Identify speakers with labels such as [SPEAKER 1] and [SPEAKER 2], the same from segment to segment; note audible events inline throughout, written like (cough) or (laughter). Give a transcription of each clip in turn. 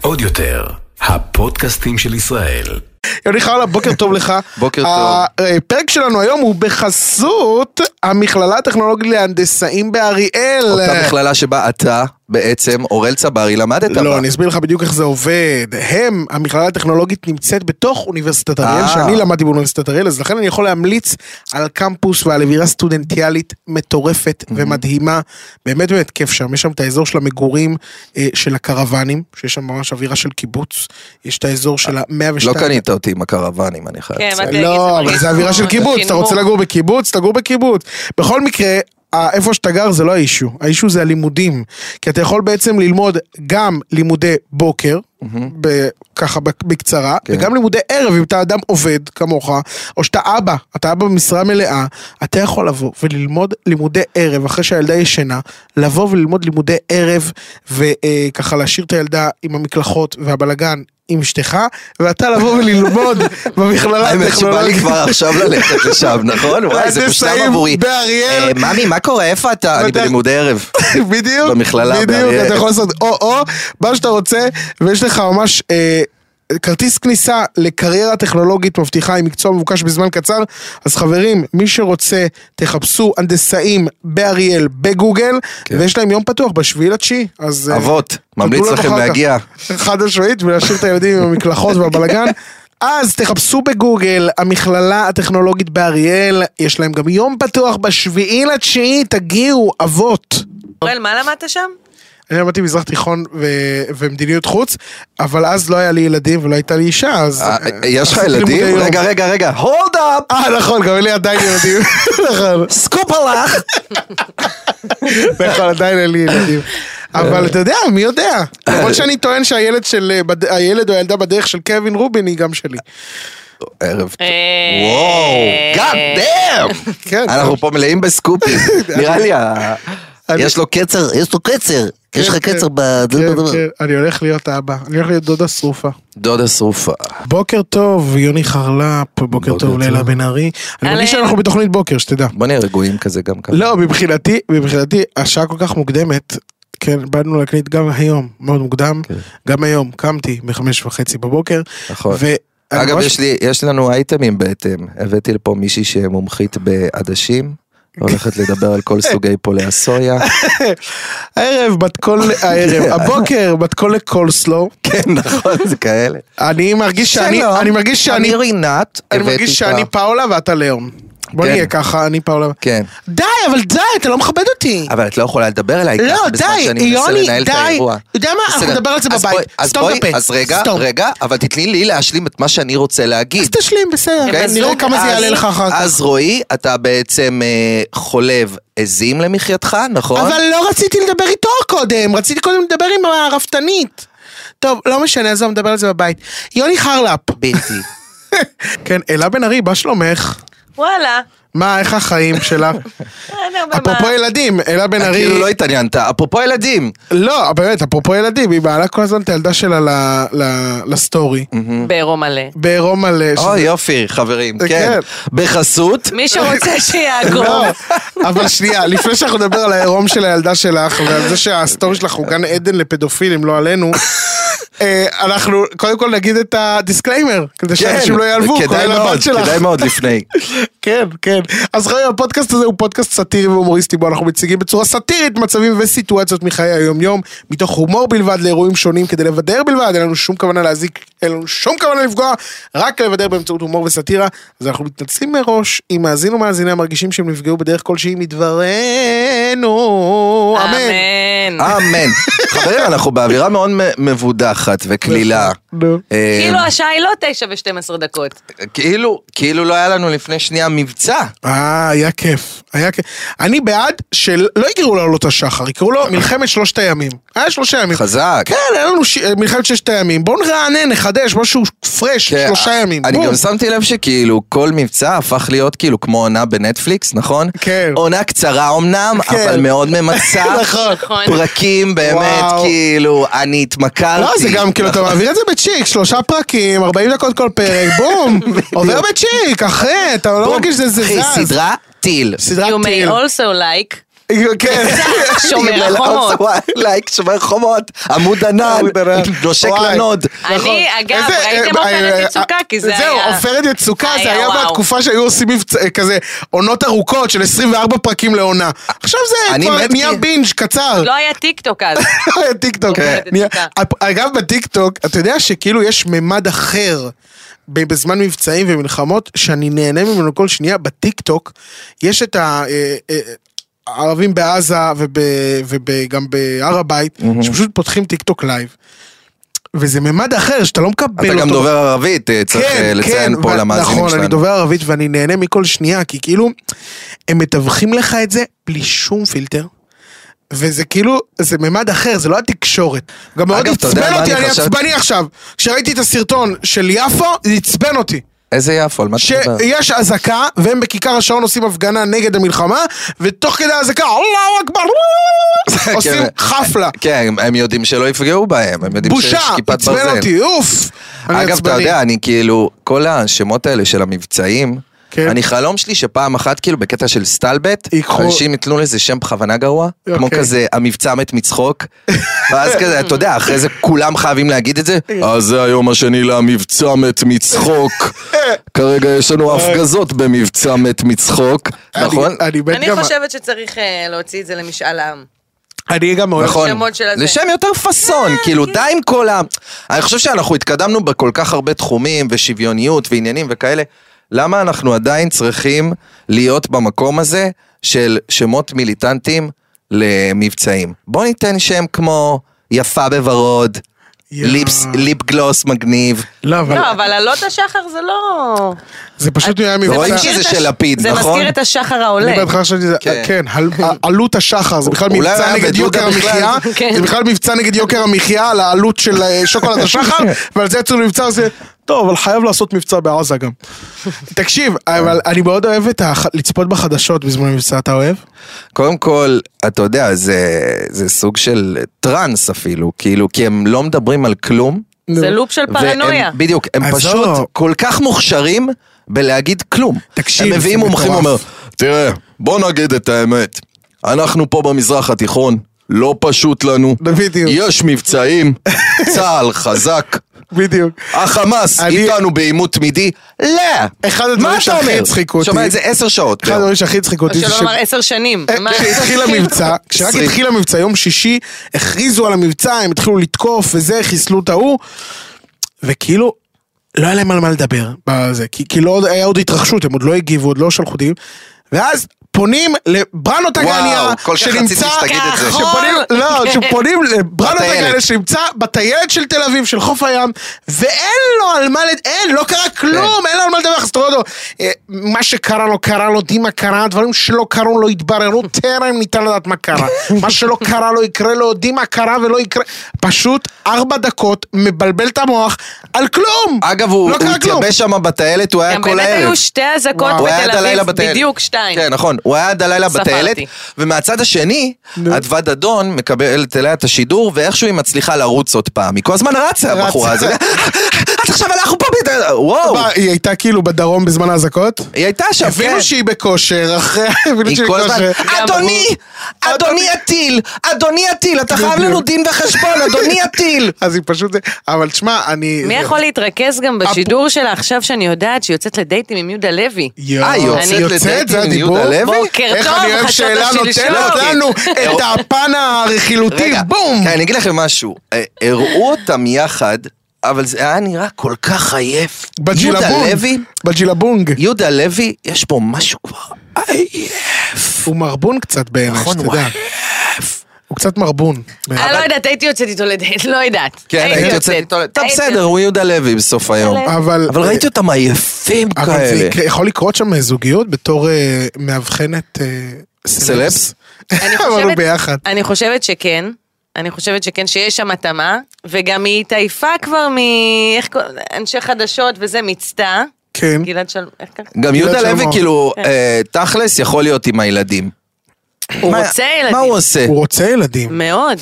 [SPEAKER 1] עוד יותר, הפודקאסטים של ישראל.
[SPEAKER 2] יוני חרלה, בוקר טוב לך.
[SPEAKER 3] בוקר טוב.
[SPEAKER 2] הפרק שלנו היום הוא בחסות המכללה הטכנולוגית להנדסאים באריאל.
[SPEAKER 3] אותה מכללה שבה אתה בעצם, אורל צברי, למדת בה.
[SPEAKER 2] לא, אני אסביר לך בדיוק איך זה עובד. הם, המכללה הטכנולוגית נמצאת בתוך אוניברסיטת אריאל,
[SPEAKER 3] אה.
[SPEAKER 2] שאני למדתי באוניברסיטת אריאל, אז לכן אני יכול להמליץ על קמפוס ועל אווירה סטודנטיאלית מטורפת ומדהימה. באמת באמת כיף שם, יש שם את האזור של המגורים אה, של הקרוונים, שיש שם ממש אווירה של קיבוץ, יש את האזור של ה-102.
[SPEAKER 3] לא קנית אותי עם הקרוונים, אני חייב
[SPEAKER 4] כן,
[SPEAKER 3] לציין.
[SPEAKER 4] מה זה?
[SPEAKER 2] לא, אבל זה אווירה של קיבוץ, אתה רוצה לגור בקיבוץ, תגור בקיבוץ. בכל מקרה... ה- איפה שאתה גר זה לא האישו, האישו זה הלימודים. כי אתה יכול בעצם ללמוד גם לימודי בוקר, ב- ככה בק- בקצרה,
[SPEAKER 3] כן.
[SPEAKER 2] וגם לימודי ערב, אם אתה אדם עובד כמוך, או שאתה אבא, אתה אבא במשרה מלאה, אתה יכול לבוא וללמוד לימודי ערב, אחרי שהילדה ישנה, לבוא וללמוד לימודי ערב, וככה להשאיר את הילדה עם המקלחות והבלגן. עם אשתך, ואתה לבוא
[SPEAKER 3] (laughs)
[SPEAKER 2] וללמוד במכללה
[SPEAKER 3] האמת שבא לי
[SPEAKER 2] הטכנולוגית.
[SPEAKER 3] כבר
[SPEAKER 2] (laughs)
[SPEAKER 3] עכשיו ללכת לשם, נכון? וואי, זה מושלם
[SPEAKER 2] מהנדסאים
[SPEAKER 3] עבורי.
[SPEAKER 2] באריאל.
[SPEAKER 3] אה, ממי, מה קורה? איפה אתה? אני
[SPEAKER 2] ואתה-
[SPEAKER 3] בלימודי
[SPEAKER 2] (laughs)
[SPEAKER 3] ערב.
[SPEAKER 2] בדיוק,
[SPEAKER 3] במכללה
[SPEAKER 2] בדיוק,
[SPEAKER 3] באריאל.
[SPEAKER 2] אתה יכול לעשות או-או, מה שאתה רוצה, ויש לך ממש אה, כרטיס כניסה לקריירה טכנולוגית מבטיחה עם מקצוע מבוקש בזמן קצר. אז חברים, מי שרוצה, תחפשו הנדסאים באריאל בגוגל,
[SPEAKER 3] כן.
[SPEAKER 2] ויש להם יום פתוח בשביעי לתשיעי, אז... אה,
[SPEAKER 3] אבות,
[SPEAKER 2] תודו
[SPEAKER 3] ממליץ
[SPEAKER 2] להם
[SPEAKER 3] לכם
[SPEAKER 2] אחר כך.
[SPEAKER 3] להגיע.
[SPEAKER 2] (laughs) חד משמעית, ולהשאיר את הילדים עם המקלחות והבלגן. אז תחפשו בגוגל, המכללה הטכנולוגית באריאל, יש להם גם יום פתוח בשביעי לתשיעי, תגיעו, אבות.
[SPEAKER 4] אוראל, מה למדת שם?
[SPEAKER 2] אני למדתי מזרח תיכון ו- ומדיניות חוץ, אבל אז לא היה לי ילדים ולא הייתה לי אישה, אז...
[SPEAKER 3] אה, יש לך
[SPEAKER 2] עשיתי לימודי
[SPEAKER 3] ילדים?
[SPEAKER 2] יום.
[SPEAKER 3] רגע, רגע, רגע, הולד אפ!
[SPEAKER 2] אה, נכון, גם אין לי עדיין
[SPEAKER 3] (laughs)
[SPEAKER 2] ילדים. נכון,
[SPEAKER 3] סקופ הלך!
[SPEAKER 2] (laughs) נכון, עדיין אין לי ילדים. אבל אתה יודע, מי יודע? למרות שאני טוען שהילד של... אה, בד- הילד או הילדה בדרך של קווין רובין היא גם שלי.
[SPEAKER 3] ערב. טוב.
[SPEAKER 4] אה,
[SPEAKER 3] וואו, גאד דאם!
[SPEAKER 2] (laughs) כן.
[SPEAKER 3] אנחנו פה
[SPEAKER 2] (laughs)
[SPEAKER 3] מלאים בסקופים. נראה לי, ה-
[SPEAKER 2] אני-
[SPEAKER 3] יש לו קצר, יש לו קצר. יש לך
[SPEAKER 2] כן.
[SPEAKER 3] קצר ב...
[SPEAKER 2] כן, כן, אני הולך להיות אבא, אני הולך להיות דודה שרופה.
[SPEAKER 3] דודה שרופה.
[SPEAKER 2] בוקר טוב, יוני חרלפ, בוקר טוב,
[SPEAKER 3] טוב.
[SPEAKER 2] לילה בן ארי. אני מרגיש
[SPEAKER 4] אהלן.
[SPEAKER 2] שאנחנו בתוכנית בוקר, שתדע.
[SPEAKER 3] בוא נהיה רגועים כזה גם ככה.
[SPEAKER 2] לא, מבחינתי, מבחינתי, השעה כל כך מוקדמת, כן, באנו להקליט גם היום, מאוד מוקדם,
[SPEAKER 3] כן.
[SPEAKER 2] גם היום קמתי בחמש וחצי בבוקר,
[SPEAKER 3] נכון.
[SPEAKER 2] ו...
[SPEAKER 3] אגב, יש לי- יש לנו אייטמים בהתאם. הבאתי לפה מישהי שמומחית בעדשים. הולכת לדבר על
[SPEAKER 2] (laughs)
[SPEAKER 3] כל סוגי פולי הסויה.
[SPEAKER 2] הערב, בת
[SPEAKER 3] (laughs)
[SPEAKER 2] כל... הערב, הבוקר, בת כל לקולסלו.
[SPEAKER 3] כן, נכון, זה כאלה.
[SPEAKER 2] אני מרגיש שאני...
[SPEAKER 3] שלום,
[SPEAKER 2] אני מרגיש שאני...
[SPEAKER 3] אני רינת.
[SPEAKER 2] אני
[SPEAKER 3] הבאתי
[SPEAKER 2] מרגיש
[SPEAKER 3] את ה-
[SPEAKER 2] שאני פאולה ואתה לאום. בוא
[SPEAKER 3] כן.
[SPEAKER 2] נהיה ככה, אני פאולה.
[SPEAKER 3] כן.
[SPEAKER 2] די, אבל די, אתה לא מכבד אותי.
[SPEAKER 3] אבל את לא יכולה לדבר אליי
[SPEAKER 2] לא,
[SPEAKER 3] ככה בזמן
[SPEAKER 2] די,
[SPEAKER 3] שאני מנסה
[SPEAKER 2] יוני,
[SPEAKER 3] לנהל את
[SPEAKER 2] די.
[SPEAKER 3] האירוע.
[SPEAKER 2] אתה יודע מה? אנחנו
[SPEAKER 3] בסדר.
[SPEAKER 2] נדבר על זה
[SPEAKER 3] אז
[SPEAKER 2] בבית.
[SPEAKER 3] בואי- אז
[SPEAKER 2] סתום
[SPEAKER 3] בואי-
[SPEAKER 2] את הפה.
[SPEAKER 3] אז רגע,
[SPEAKER 2] סתום.
[SPEAKER 3] רגע, אבל תתני לי להשלים את מה שאני רוצה
[SPEAKER 2] אז
[SPEAKER 3] להגיד.
[SPEAKER 2] תשלים,
[SPEAKER 3] אוקיי?
[SPEAKER 2] בסדר. נראה
[SPEAKER 3] אז-
[SPEAKER 2] לא כמה זה יעלה לך אחר כך.
[SPEAKER 3] אז רועי, אתה בעצם אה, חולב עזים למחייתך, נכון?
[SPEAKER 2] אבל לא רציתי לדבר איתו קודם, רציתי קודם לדבר עם הרפתנית. טוב, לא משנה, עזוב, נדבר על זה בבית. יוני חרלפ.
[SPEAKER 3] בלתי.
[SPEAKER 2] (laughs) כן, אלה בן ארי, מה שלומך?
[SPEAKER 4] וואלה.
[SPEAKER 2] מה, איך החיים שלה? (laughs)
[SPEAKER 4] אין הרבה מה.
[SPEAKER 2] אפרופו ילדים, אלה בן ארי...
[SPEAKER 3] כאילו לא התעניינת, אפרופו ילדים.
[SPEAKER 2] לא, באמת, אפרופו ילדים, היא מעלה כל הזמן את הילדה שלה ל- ל- לסטורי.
[SPEAKER 4] בעירום מלא.
[SPEAKER 2] בעירום על...
[SPEAKER 3] אוי יופי, חברים,
[SPEAKER 2] אה,
[SPEAKER 3] כן. בחסות,
[SPEAKER 4] מי שרוצה שיעקוב.
[SPEAKER 2] לא, אבל שנייה, לפני שאנחנו נדבר על העירום של הילדה שלך ועל זה שהסטורי שלך הוא גן עדן לפדופילים, לא עלינו, אה, אנחנו קודם כל נגיד את הדיסקליימר, כדי
[SPEAKER 3] כן.
[SPEAKER 2] שאנשים לא יעלבו,
[SPEAKER 3] כדאי
[SPEAKER 2] כולל
[SPEAKER 3] מאוד,
[SPEAKER 2] הבת שלך.
[SPEAKER 3] כדאי מאוד
[SPEAKER 2] (laughs)
[SPEAKER 3] לפני.
[SPEAKER 2] כן, כן. אז חברים, הפודקאסט הזה הוא פודקאסט סאטירי והומוריסטי, בו אנחנו מציגים בצורה סאטירית מצבים וסיטואציות מחיי היום-יום, מתוך הומור בלבד לאירועים שונים כדי לבדר בלבד, אין לנו שום כוונה להזיק, אין לנו שום כוונה לפגוע, רק לבדר באמצעות הומור וסאטירה. אז אנחנו מתנצלים מראש, אם מאזין ומאזינה מרגישים שהם נפגעו בדרך כלשהי מדברנו, אמן.
[SPEAKER 4] אמן.
[SPEAKER 3] אמן. חברים, אנחנו באווירה מאוד מ- מבודחת וקלילה.
[SPEAKER 2] נו.
[SPEAKER 3] אה,
[SPEAKER 4] כאילו השעה היא לא תשע ושתים עשרה דקות.
[SPEAKER 3] כאילו, כאילו לא היה לנו לפני שנייה מבצע.
[SPEAKER 2] אה, היה כיף, היה כיף. אני בעד שלא יקראו לו עלות השחר, יקראו לו מלחמת שלושת הימים. היה שלושה ימים.
[SPEAKER 3] חזק.
[SPEAKER 2] כן, היה לנו ש... מלחמת ששת הימים. בואו נרענן, נחדש, משהו פרש,
[SPEAKER 3] כן,
[SPEAKER 2] שלושה ימים.
[SPEAKER 3] אני
[SPEAKER 2] בום.
[SPEAKER 3] גם שמתי לב שכאילו כל מבצע הפך להיות כאילו כמו עונה בנטפליקס, נכון?
[SPEAKER 2] כן.
[SPEAKER 3] עונה קצרה אמנם,
[SPEAKER 2] כן.
[SPEAKER 3] אבל מאוד
[SPEAKER 2] (laughs)
[SPEAKER 3] ממצה.
[SPEAKER 4] נכון.
[SPEAKER 3] פרקים באמת,
[SPEAKER 2] וואו.
[SPEAKER 3] כאילו, אני התמכרתי.
[SPEAKER 2] לא, זה גם כאילו, אתה
[SPEAKER 3] נכון.
[SPEAKER 2] מעביר את זה בצ'יק, שלושה פרקים, 40 דקות כל פרק,
[SPEAKER 3] (laughs)
[SPEAKER 2] בום, עובר בצ'יק, אחרי, אתה לא
[SPEAKER 3] בום.
[SPEAKER 2] מרגיש שזה
[SPEAKER 3] אחי,
[SPEAKER 2] זז.
[SPEAKER 3] סדרה טיל.
[SPEAKER 2] סדרת
[SPEAKER 4] You may
[SPEAKER 2] טיל.
[SPEAKER 4] also like
[SPEAKER 2] כן.
[SPEAKER 3] (laughs)
[SPEAKER 4] שומר החומות.
[SPEAKER 3] לייק, שומר חומות, עמוד ענן,
[SPEAKER 2] עמוד ענן.
[SPEAKER 3] נושק
[SPEAKER 2] וואי.
[SPEAKER 3] לנוד.
[SPEAKER 2] נכון.
[SPEAKER 4] אני, אגב,
[SPEAKER 2] איזה,
[SPEAKER 4] ראיתם
[SPEAKER 2] אה,
[SPEAKER 4] עופרת
[SPEAKER 2] אה,
[SPEAKER 4] יצוקה? כי זה
[SPEAKER 2] זהו,
[SPEAKER 4] היה...
[SPEAKER 2] עופרת יצוקה, זה
[SPEAKER 4] היה
[SPEAKER 2] היה
[SPEAKER 4] וואו.
[SPEAKER 2] מהתקופה שהיו עושים מבצע- אה, כזה עונות ארוכות של 24 פרקים לעונה. עכשיו זה
[SPEAKER 3] אני
[SPEAKER 2] כבר
[SPEAKER 3] מת
[SPEAKER 2] נהיה
[SPEAKER 3] כי-
[SPEAKER 2] בינג' קצר.
[SPEAKER 4] לא היה טיקטוק אז.
[SPEAKER 2] (laughs) טיקטוק.
[SPEAKER 3] אוקיי.
[SPEAKER 4] כן.
[SPEAKER 2] אה, נהיה- אפ- אגב, בטיקטוק, אתה יודע שכאילו יש ממד אחר ב- בזמן מבצעים ומלחמות, שאני נהנה ממנו כל שנייה, בטיקטוק יש את ה... אה, אה, הערבים בעזה וגם בהר הבית, שפשוט פותחים טיקטוק לייב. וזה ממד אחר שאתה לא מקבל אותו.
[SPEAKER 3] אתה גם דובר ערבית, אה, צריך אה, לציין פה
[SPEAKER 2] כן, ו-
[SPEAKER 3] למאזינים
[SPEAKER 2] נכון, אני
[SPEAKER 3] שלנו.
[SPEAKER 2] דובר ערבית ואני נהנה מכל שנייה, כי כאילו, הם מתווכים לך את זה בלי שום פילטר. וזה כאילו, זה ממד אחר, זה לא התקשורת. גם מאוד
[SPEAKER 3] אגב, אתה יודע
[SPEAKER 2] עצבן
[SPEAKER 3] מה
[SPEAKER 2] אותי,
[SPEAKER 3] אני
[SPEAKER 2] אני
[SPEAKER 3] חשבתי?
[SPEAKER 2] עצבני עכשיו. כשראיתי את הסרטון של יפו, זה עצבן אותי.
[SPEAKER 3] איזה יפו, על מה אתה מדבר?
[SPEAKER 2] שיש אזעקה, והם בכיכר השעון עושים הפגנה נגד המלחמה, ותוך כדי האזעקה, אללהו
[SPEAKER 3] (laughs)
[SPEAKER 2] אכבר, עושים
[SPEAKER 3] כן.
[SPEAKER 2] חפלה.
[SPEAKER 3] כן, הם- הם יודעים שלא יפגעו בהם, הם יודעים שיש
[SPEAKER 2] בושה,
[SPEAKER 3] כיפת ברזל.
[SPEAKER 2] עצבן אותי, אוף. אני
[SPEAKER 3] אגב, אתה
[SPEAKER 2] עצבני.
[SPEAKER 3] יודע, אני כאילו, כל השמות האלה של המבצעים,
[SPEAKER 2] כן.
[SPEAKER 3] אני חלום שלי שפעם אחת, כאילו, בקטע של סטלבט,
[SPEAKER 2] ייקחו-
[SPEAKER 3] אנשים יתנו לזה שם בכוונה גרוע, כמו
[SPEAKER 2] אוקיי.
[SPEAKER 3] כזה, המבצע מת מצחוק,
[SPEAKER 2] (laughs)
[SPEAKER 3] ואז כזה, אתה יודע, אחרי זה כולם חייבים להגיד את זה,
[SPEAKER 2] כן.
[SPEAKER 3] אז זה היום השני למבצע מת
[SPEAKER 2] (laughs)
[SPEAKER 3] מצחוק, כרגע יש לנו הפגזות במבצע מת מצחוק,
[SPEAKER 2] אני-
[SPEAKER 3] נכון?
[SPEAKER 2] אני מת
[SPEAKER 4] אני
[SPEAKER 2] גם-
[SPEAKER 4] חושבת שצריך אה, להוציא את זה למשאל עם.
[SPEAKER 2] אני גם אוהב.
[SPEAKER 3] נכון.
[SPEAKER 4] השמות של הזה.
[SPEAKER 3] לשם יותר פאסון, כאילו די עם כל ה... אני חושב שאנחנו התקדמנו בכל כך הרבה תחומים, ושוויוניות, ועניינים וכאלה. למה אנחנו עדיין צריכים להיות במקום הזה של שמות מיליטנטים למבצעים? בוא ניתן שם כמו יפה בוורוד,
[SPEAKER 2] יא.
[SPEAKER 3] ליפס, ליפ גלוס מגניב.
[SPEAKER 2] לא, אבל
[SPEAKER 4] לא, אבל עלות השחר זה לא...
[SPEAKER 2] זה פשוט נראה
[SPEAKER 4] זה
[SPEAKER 2] מבצע.
[SPEAKER 3] רואים
[SPEAKER 4] מזכיר
[SPEAKER 3] שזה
[SPEAKER 4] את
[SPEAKER 3] של
[SPEAKER 4] הש-
[SPEAKER 3] לפיד,
[SPEAKER 4] זה
[SPEAKER 3] נכון?
[SPEAKER 4] מזכיר את השחר העולה.
[SPEAKER 2] אני בהתחלה חשבתי שזה,
[SPEAKER 3] כן.
[SPEAKER 2] כן, על- עלות השחר, זה בכלל
[SPEAKER 3] אולי הוא
[SPEAKER 2] מבצע
[SPEAKER 3] היה
[SPEAKER 2] נגד
[SPEAKER 3] בדודה
[SPEAKER 2] יוקר
[SPEAKER 3] בכלל.
[SPEAKER 2] המחיה,
[SPEAKER 4] כן.
[SPEAKER 2] זה בכלל מבצע נגד יוקר המחיה, על העלות של אה, שוקולד
[SPEAKER 3] (laughs)
[SPEAKER 2] השחר, ועל זה יצאו למבצע הזה, טוב, אבל חייב לעשות מבצע בעזה גם. תקשיב, אבל אני מאוד אוהב את ה... לצפות בחדשות בזמן מבצע, אתה אוהב?
[SPEAKER 3] קודם כל, אתה יודע, זה, זה סוג של טראנס אפילו, כאילו, כי הם לא מדברים על כלום.
[SPEAKER 4] זה לופ של פרנויה.
[SPEAKER 3] והם, בדיוק, הם
[SPEAKER 2] עזוב.
[SPEAKER 3] פשוט כל כך מוכשרים בלהגיד כלום.
[SPEAKER 2] תקשיב,
[SPEAKER 3] הם מביאים
[SPEAKER 2] זה
[SPEAKER 3] מומחים
[SPEAKER 2] מטורף.
[SPEAKER 3] ואומר, תראה, בוא נגיד את האמת, אנחנו פה במזרח התיכון, לא פשוט לנו,
[SPEAKER 2] בדיוק.
[SPEAKER 3] יש
[SPEAKER 2] (laughs)
[SPEAKER 3] מבצעים, צה"ל חזק,
[SPEAKER 2] בדיוק.
[SPEAKER 3] החמאס
[SPEAKER 2] אני-
[SPEAKER 3] איתנו בעימות תמידי, לא!
[SPEAKER 2] אחד הדברים
[SPEAKER 3] מה אתה
[SPEAKER 2] שהכי
[SPEAKER 3] אומר?
[SPEAKER 2] הצחיקו אותי-
[SPEAKER 3] שומע את זה עשר שעות. כן.
[SPEAKER 2] אחד הדברים שהכי הצחיק
[SPEAKER 4] או
[SPEAKER 2] אותי זה
[SPEAKER 4] שלא
[SPEAKER 2] ש...
[SPEAKER 4] לומר עשר שנים. מה?
[SPEAKER 2] כשהתחיל
[SPEAKER 3] (laughs)
[SPEAKER 2] המבצע, כשרק
[SPEAKER 3] עשרים.
[SPEAKER 2] התחיל המבצע, יום שישי, הכריזו על המבצע, הם התחילו לתקוף וזה, חיסלו את ההוא, וכאילו, לא היה להם על מה לדבר, בזה, כי, כי לא היה עוד התרחשות, הם עוד לא הגיבו, עוד לא שלחו דיון, ואז פונים לברנו טגניה,
[SPEAKER 3] כל כך
[SPEAKER 2] שנמצא,
[SPEAKER 3] רציתי שתגיד את זה. נכון.
[SPEAKER 2] שפונים, לא,
[SPEAKER 4] כן.
[SPEAKER 2] שפונים לברנו
[SPEAKER 3] בטיילת.
[SPEAKER 2] טגניה, שנמצא בטיילת של תל אביב, של חוף הים, ואין לו על מה, לד- אין, לא קרה כלום,
[SPEAKER 3] כן.
[SPEAKER 2] אין לו על מה לדבר, אז אתה רואה אותו, אה, מה שקרה לא קרה, לא יודעים מה קרה, דברים שלא קרו לא התבררו, טרם ניתן לדעת מה קרה. מה שלא קרה לא יקרה, לא יודעים מה קרה ולא יקרה. פשוט ארבע דקות מבלבל את המוח על כלום!
[SPEAKER 3] אגב, הוא
[SPEAKER 2] לא
[SPEAKER 3] הוא
[SPEAKER 2] קרה כלום.
[SPEAKER 3] התייבש שם בטיילת, הוא היה
[SPEAKER 4] גם
[SPEAKER 3] כל
[SPEAKER 4] באמת
[SPEAKER 3] הערב.
[SPEAKER 4] היו שתי אזעקות
[SPEAKER 3] הוא היה עד
[SPEAKER 4] בתל
[SPEAKER 3] הלילה
[SPEAKER 4] אביב,
[SPEAKER 3] בטיילת.
[SPEAKER 4] בדיוק שתיים.
[SPEAKER 3] כן, נכון, הוא היה עד הלילה
[SPEAKER 4] ספרתי.
[SPEAKER 3] בטיילת, ומהצד השני, אדוה דדון מקבלת אליה את השידור, ואיכשהו היא מצליחה לרוץ עוד פעם. היא כל הזמן
[SPEAKER 2] רצה.
[SPEAKER 3] רצה, הבחורה הזאת. את עכשיו אנחנו פה בטיילת, וואו.
[SPEAKER 2] מה, היא הייתה כאילו בדרום בזמן האזעקות?
[SPEAKER 3] היא הייתה שם, כן.
[SPEAKER 2] הבינו שהיא בכושר, אחרי... הבינו
[SPEAKER 3] היא
[SPEAKER 2] שהיא
[SPEAKER 3] כל הזמן,
[SPEAKER 2] בכושר.
[SPEAKER 3] אדוני, לא אדוני הטיל, אדוני הטיל, אתה חייב לנו דין וחשבון, אדוני הטיל.
[SPEAKER 2] אז היא פשוט... זה- אבל תשמע, אני...
[SPEAKER 4] מי יכול להתרכז גם בשידור שלה עכשיו שאני יודעת שהיא יוצאת לדייטים עם יהודה לוי?
[SPEAKER 2] יואו,
[SPEAKER 3] אה, היא יוצאת
[SPEAKER 2] היא יוצאת?
[SPEAKER 3] לדייט
[SPEAKER 2] זה
[SPEAKER 3] עם
[SPEAKER 2] הדיבור?
[SPEAKER 3] יהודה לוי?
[SPEAKER 4] בוקר
[SPEAKER 2] איך
[SPEAKER 4] טוב,
[SPEAKER 2] אני אוהב
[SPEAKER 4] חשבת
[SPEAKER 2] שאלה
[SPEAKER 4] שלשום.
[SPEAKER 2] נותנת לנו
[SPEAKER 3] אוקיי.
[SPEAKER 2] את הפן הרכילותי,
[SPEAKER 3] (laughs) רגע,
[SPEAKER 2] בום!
[SPEAKER 3] כן, אני אגיד לכם משהו, אה, הראו אותם יחד, אבל זה היה נראה כל כך עייף. יהודה לוי,
[SPEAKER 2] בג'ילבונג, בג'ילבונג.
[SPEAKER 3] יהודה לוי, יש פה משהו כבר עייף.
[SPEAKER 2] הוא מרבון קצת בעיניי,
[SPEAKER 3] נכון,
[SPEAKER 2] שאתה
[SPEAKER 3] הוא
[SPEAKER 2] יודע. הוא קצת מרבון.
[SPEAKER 4] אני לא יודעת, הייתי יוצאת איתו לדייט, לא יודעת.
[SPEAKER 3] כן, הייתי יוצאת איתו, טוב
[SPEAKER 4] הייתי
[SPEAKER 3] בסדר, הוא יהודה לוי בסוף היום.
[SPEAKER 4] אה.
[SPEAKER 2] אבל... אה,
[SPEAKER 3] אבל ראיתי אותם עייפים
[SPEAKER 2] אבל זה כן.
[SPEAKER 3] כאלה.
[SPEAKER 2] יקרה- יכול לקרות שם זוגיות בתור אה, מאבחנת אה,
[SPEAKER 3] סלפס?
[SPEAKER 4] אני
[SPEAKER 2] (laughs) אבל הוא
[SPEAKER 4] חושבת-
[SPEAKER 2] ביחד.
[SPEAKER 4] אני חושבת שכן. אני חושבת שכן, שיש שם התאמה, וגם היא התעייפה כבר מאנשי חדשות וזה, מצטה.
[SPEAKER 2] כן.
[SPEAKER 4] גלעד שלום, איך קרה?
[SPEAKER 3] גם יהודה
[SPEAKER 2] שלמה.
[SPEAKER 3] לוי כאילו,
[SPEAKER 4] כן.
[SPEAKER 3] אה, תכלס יכול להיות עם הילדים.
[SPEAKER 4] הוא
[SPEAKER 3] מה-
[SPEAKER 4] רוצה ילדים.
[SPEAKER 3] מה הוא עושה?
[SPEAKER 2] הוא רוצה ילדים.
[SPEAKER 4] מאוד.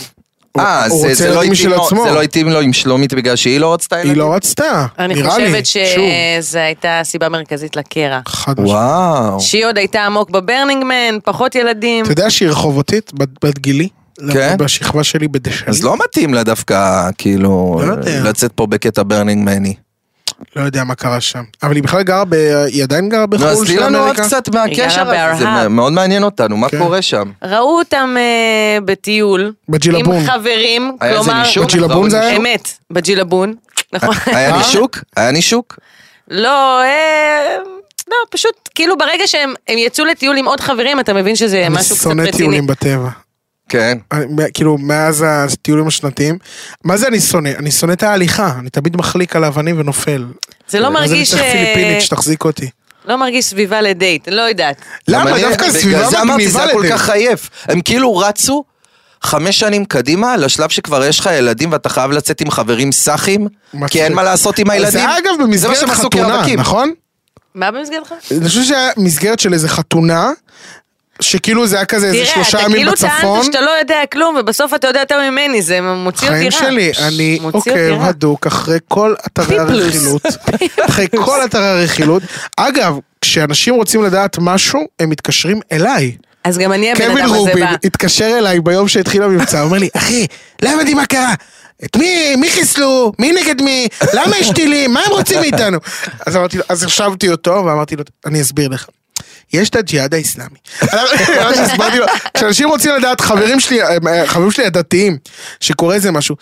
[SPEAKER 3] אה,
[SPEAKER 2] הוא
[SPEAKER 3] זה-
[SPEAKER 2] רוצה
[SPEAKER 3] זה לא
[SPEAKER 2] ילדים
[SPEAKER 3] התאים
[SPEAKER 2] משל
[SPEAKER 3] לו-
[SPEAKER 2] עצמו.
[SPEAKER 3] זה לא התאים לו עם שלומית בגלל שהיא לא רצתה
[SPEAKER 2] היא
[SPEAKER 3] ילדים?
[SPEAKER 2] לא רצתה,
[SPEAKER 4] אני
[SPEAKER 2] נראה לי.
[SPEAKER 4] חושבת
[SPEAKER 2] שוב,
[SPEAKER 4] שזו הייתה סיבה מרכזית לקרע.
[SPEAKER 2] חד משמעית.
[SPEAKER 3] וואו.
[SPEAKER 4] שהיא עוד הייתה עמוק בברנינגמן, פחות ילדים.
[SPEAKER 2] אתה יודע שהיא רחובותית, בת בת גילי?
[SPEAKER 3] כן?
[SPEAKER 2] בשכבה שלי בדשנים.
[SPEAKER 3] אז לא מתאים לה דווקא, כאילו,
[SPEAKER 2] לא יודע.
[SPEAKER 3] לצאת פה בקטע ברנינג מני.
[SPEAKER 2] לא יודע מה קרה שם. אבל היא בכלל גרה ב... היא עדיין גרה
[SPEAKER 3] נו,
[SPEAKER 2] בחו"ל
[SPEAKER 3] לא, אז תני
[SPEAKER 2] של
[SPEAKER 3] לנו עוד
[SPEAKER 2] אמריקה?
[SPEAKER 3] קצת
[SPEAKER 4] היא
[SPEAKER 3] מהקשר
[SPEAKER 4] גרה
[SPEAKER 3] הזה, זה
[SPEAKER 4] בארהב.
[SPEAKER 3] מ- מאוד מעניין אותנו, מה
[SPEAKER 2] כן.
[SPEAKER 3] קורה שם?
[SPEAKER 4] ראו אותם אה, בטיול.
[SPEAKER 2] בג'ילבון.
[SPEAKER 4] עם חברים,
[SPEAKER 3] היה איזה
[SPEAKER 4] כלומר...
[SPEAKER 3] נישוק?
[SPEAKER 2] בג'ילבון אה, זה היה?
[SPEAKER 4] אמת, בג'ילבון. נכון.
[SPEAKER 3] היה נישוק? היה נישוק?
[SPEAKER 4] לא, אה, לא, פשוט, כאילו ברגע שהם הם יצאו לטיול עם עוד חברים, אתה מבין שזה
[SPEAKER 2] אני
[SPEAKER 4] אה, משהו קצת רציני.
[SPEAKER 2] שונא טיולים בטבע.
[SPEAKER 3] כן.
[SPEAKER 2] אני- מה- כאילו, מאז הטיולים השנתיים. מה זה אני שונא? אני שונא את ההליכה. אני תמיד מחליק על האבנים ונופל.
[SPEAKER 4] זה לא
[SPEAKER 2] אז אני
[SPEAKER 4] מרגיש...
[SPEAKER 2] צריך
[SPEAKER 4] אה,
[SPEAKER 2] פיליפינית שתחזיק אותי.
[SPEAKER 4] לא מרגיש סביבה לדייט, לא יודעת.
[SPEAKER 2] למה?
[SPEAKER 3] גם אני-
[SPEAKER 2] דווקא סביבה
[SPEAKER 3] בגלל זה אמרתי, זה
[SPEAKER 2] מגניבה
[SPEAKER 3] היה כל
[SPEAKER 2] לדייט.
[SPEAKER 3] כך עייף. הם כאילו רצו חמש שנים קדימה, לשלב שכבר יש לך ילדים ואתה חייב לצאת עם חברים סאחים,
[SPEAKER 2] מצחיק.
[SPEAKER 3] כי אין מה לעשות עם הילדים.
[SPEAKER 2] זה אגב
[SPEAKER 3] מה
[SPEAKER 2] במסגרת
[SPEAKER 3] שהם עשו
[SPEAKER 2] חתונה,
[SPEAKER 3] כרווקים.
[SPEAKER 2] נכון?
[SPEAKER 4] מה במסגרתך?
[SPEAKER 2] אני חושב שהיה מסגרת של איזה חתונה, שכאילו זה היה כזה איזה
[SPEAKER 4] תראה,
[SPEAKER 2] שלושה
[SPEAKER 4] אתה
[SPEAKER 2] ימים
[SPEAKER 4] כאילו
[SPEAKER 2] בצפון.
[SPEAKER 4] טענת שאתה לא יודע כלום, ובסוף אתה יודע יותר ממני, זה מוציא אותי רע.
[SPEAKER 2] חיים שלי, אני אוקיי,
[SPEAKER 4] מוציא אותי
[SPEAKER 2] עוקב
[SPEAKER 4] רע.
[SPEAKER 2] הדוק אחרי כל אתרי
[SPEAKER 4] פיפלוס.
[SPEAKER 2] הרכילות.
[SPEAKER 4] (laughs)
[SPEAKER 2] אחרי כל אתרי הרכילות. אגב, כשאנשים רוצים לדעת משהו, הם מתקשרים אליי.
[SPEAKER 4] אז גם אני הבן
[SPEAKER 2] קווין
[SPEAKER 4] אדם הזה
[SPEAKER 2] רובין
[SPEAKER 4] בא.
[SPEAKER 2] התקשר אליי ביום שהתחיל המבצע, הוא אומר לי, אחי, לא הבנתי מה קרה. את מי, מי חיסלו, מי נגד מי, למה יש טילים, מה הם רוצים מאיתנו? אז אמרתי לו, אז הרשבתי אותו ואמרתי לו, אני אסביר לך. יש את הג'יהאד (laughs) האיסלאמי. ממש הסברתי לו, כשאנשים רוצים לדעת, חברים שלי, אה, חברים שלי הדתיים, שקורה איזה משהו.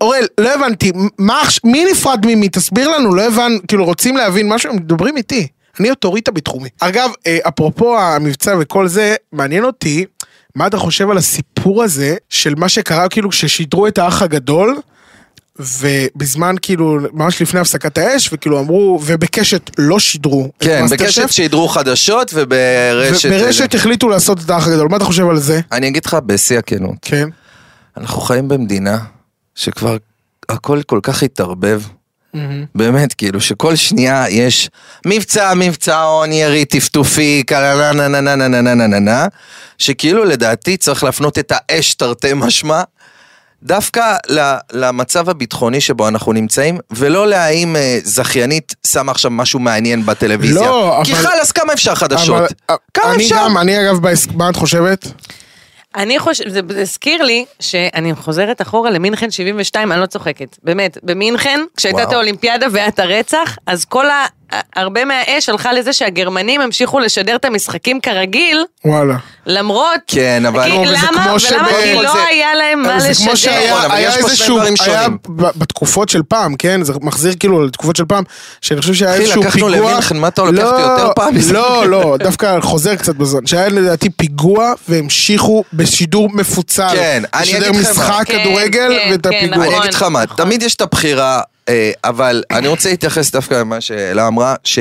[SPEAKER 2] אוראל, לא הבנתי, מה, עכש- מי נפרד ממי? תסביר לנו, לא הבנ... כאילו, רוצים להבין משהו, הם מדברים איתי. אני אוטוריטה בתחומי. אגב, אה, אפרופו המבצע וכל זה, מעניין אותי, מה אתה חושב על הסיפור הזה של מה שקרה, כאילו, כששידרו את האח הגדול, ובזמן, כאילו, ממש לפני הפסקת האש, וכאילו אמרו, ובקשת לא שידרו את
[SPEAKER 3] כן,
[SPEAKER 2] מאסטר שף,
[SPEAKER 3] בקשת שידרו חדשות וברשת...
[SPEAKER 2] וברשת החליטו לעשות את האח הגדול, מה אתה חושב על זה?
[SPEAKER 3] אני אגיד לך בשיא הכנות.
[SPEAKER 2] כן.
[SPEAKER 3] אנחנו חיים במדינה שכבר הכל כל כך התערבב. באמת, כאילו, שכל שנייה יש מבצע, מבצע הון, ירי, טפטופי, כאלה, נה נה נה נה נה נה נה נה נה, שכאילו לדעתי צריך להפנות את האש תרתי משמע, דווקא ל- למצב הביטחוני שבו אנחנו נמצאים, ולא להאם אה, זכיינית שמה עכשיו משהו מעניין בטלוויזיה.
[SPEAKER 2] לא,
[SPEAKER 3] כי
[SPEAKER 2] אבל-
[SPEAKER 3] חלאס, כמה אפשר חדשות?
[SPEAKER 2] אבל, אה,
[SPEAKER 3] כמה
[SPEAKER 2] אני
[SPEAKER 3] אפשר?
[SPEAKER 2] גם, אני אגב, בהס- מה את חושבת?
[SPEAKER 4] אני חושבת, זה זה הזכיר לי שאני חוזרת אחורה למינכן 72, אני לא צוחקת. באמת, במינכן, כשהייתה
[SPEAKER 3] וואו.
[SPEAKER 4] את האולימפיאדה והיה את הרצח, אז כל ה... הרבה מהאש הלכה לזה שהגרמנים המשיכו לשדר את המשחקים כרגיל,
[SPEAKER 2] וואלה.
[SPEAKER 4] למרות...
[SPEAKER 3] כן, אבל-
[SPEAKER 4] כי
[SPEAKER 3] נו,
[SPEAKER 2] וזה
[SPEAKER 4] למה,
[SPEAKER 2] כמו
[SPEAKER 4] ולמה
[SPEAKER 2] שב-
[SPEAKER 4] כי
[SPEAKER 3] אבל
[SPEAKER 4] לא
[SPEAKER 3] זה-
[SPEAKER 4] היה להם מה
[SPEAKER 2] זה כמו
[SPEAKER 4] לשדר.
[SPEAKER 3] נכון,
[SPEAKER 2] שהיה
[SPEAKER 3] אבל
[SPEAKER 2] היה
[SPEAKER 3] יש פה שני
[SPEAKER 2] איזשהו,
[SPEAKER 3] דברים
[SPEAKER 2] היה
[SPEAKER 3] שונים.
[SPEAKER 2] ב- בתקופות של פעם, כן? זה מחזיר כאילו לתקופות של פעם, שאני חושב שהיה
[SPEAKER 3] אחי,
[SPEAKER 2] איזשהו
[SPEAKER 3] לקחנו
[SPEAKER 2] פיגוע...
[SPEAKER 3] למינכן, מה אתה לוקח אותי
[SPEAKER 2] לא,
[SPEAKER 3] יותר פעם?
[SPEAKER 2] לא,
[SPEAKER 3] (laughs)
[SPEAKER 2] לא, דווקא חוזר קצת בזמן. שהיה לדעתי פיגוע והמשיכו בשידור מפוצל.
[SPEAKER 3] כן, אני
[SPEAKER 2] לשדר
[SPEAKER 3] אגיד לך מה.
[SPEAKER 2] משחק,
[SPEAKER 4] כן,
[SPEAKER 2] כדורגל
[SPEAKER 4] כן,
[SPEAKER 2] ואת
[SPEAKER 4] כן,
[SPEAKER 2] הפיגוע.
[SPEAKER 4] נכון.
[SPEAKER 3] אני אגיד לך מה, תמיד יש את הבחירה, אה, אבל אני רוצה להתייחס דווקא למה שאלה אמרה, ש...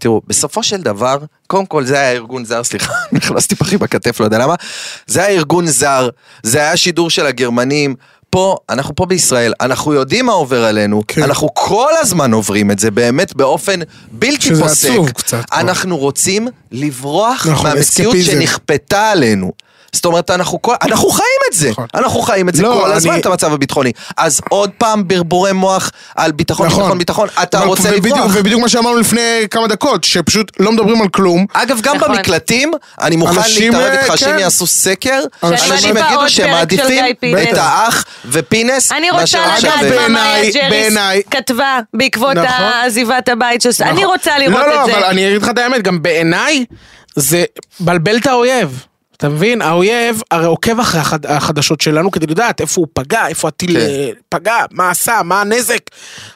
[SPEAKER 3] תראו, בסופו של דבר, קודם כל זה היה ארגון זר, סליחה, (laughs) נכנסתי פחי בכתף, לא יודע למה, זה היה ארגון זר, זה היה שידור של הגרמנים, פה, אנחנו פה בישראל, אנחנו יודעים מה עובר עלינו,
[SPEAKER 2] כן.
[SPEAKER 3] אנחנו כל הזמן עוברים את זה, באמת באופן בלתי
[SPEAKER 2] שזה
[SPEAKER 3] פוסק.
[SPEAKER 2] עצוב קצת, כן.
[SPEAKER 3] אנחנו רוצים לברוח
[SPEAKER 2] נכון,
[SPEAKER 3] מהמציאות
[SPEAKER 2] אסקפיזם.
[SPEAKER 3] שנכפתה עלינו. זאת אומרת, אנחנו, כל, אנחנו חיים את זה,
[SPEAKER 2] נכון.
[SPEAKER 3] אנחנו חיים את זה
[SPEAKER 2] לא,
[SPEAKER 3] כל
[SPEAKER 2] אני-
[SPEAKER 3] הזמן, את המצב הביטחוני. אז עוד פעם ברבורי מוח על ביטחון, ביטחון, ביטחון, אתה
[SPEAKER 2] אבל-
[SPEAKER 3] רוצה
[SPEAKER 2] נכון. ובדיוק-
[SPEAKER 3] לברוח.
[SPEAKER 2] ובדיוק מה שאמרנו לפני כמה דקות, שפשוט לא מדברים על כלום.
[SPEAKER 3] אגב, גם
[SPEAKER 4] נכון.
[SPEAKER 3] במקלטים, אני מוכן
[SPEAKER 2] אנשים,
[SPEAKER 3] להתערב
[SPEAKER 2] אה,
[SPEAKER 3] איתך שאם
[SPEAKER 2] כן.
[SPEAKER 3] יעשו סקר,
[SPEAKER 2] אנשים-
[SPEAKER 3] אנשים
[SPEAKER 2] אני
[SPEAKER 4] בא
[SPEAKER 3] יגידו
[SPEAKER 4] עוד
[SPEAKER 3] שהם
[SPEAKER 4] פרק של
[SPEAKER 3] מעדיפים
[SPEAKER 4] גיא
[SPEAKER 3] את
[SPEAKER 4] פינס.
[SPEAKER 3] האח ופינס,
[SPEAKER 4] אני רוצה
[SPEAKER 3] מאשר
[SPEAKER 4] לדעת
[SPEAKER 3] עכשיו אה,
[SPEAKER 2] אגב,
[SPEAKER 4] מה
[SPEAKER 3] זה.
[SPEAKER 4] מריה
[SPEAKER 2] בעיניי-
[SPEAKER 4] ג'ריס
[SPEAKER 2] בעיניי-
[SPEAKER 4] כתבה בעקבות
[SPEAKER 2] נכון.
[SPEAKER 4] עזיבת הבית של... אני רוצה לראות
[SPEAKER 5] לא,
[SPEAKER 4] את זה.
[SPEAKER 5] לא, אבל אני אגיד לך את האמת, גם בעיניי זה בלבל את האויב. אתה מבין? האויב הרי עוקב אחרי החד... החדשות שלנו כדי לדעת איפה הוא פגע, איפה הטיל
[SPEAKER 3] כן.
[SPEAKER 5] אה, פגע, מה עשה, מה הנזק.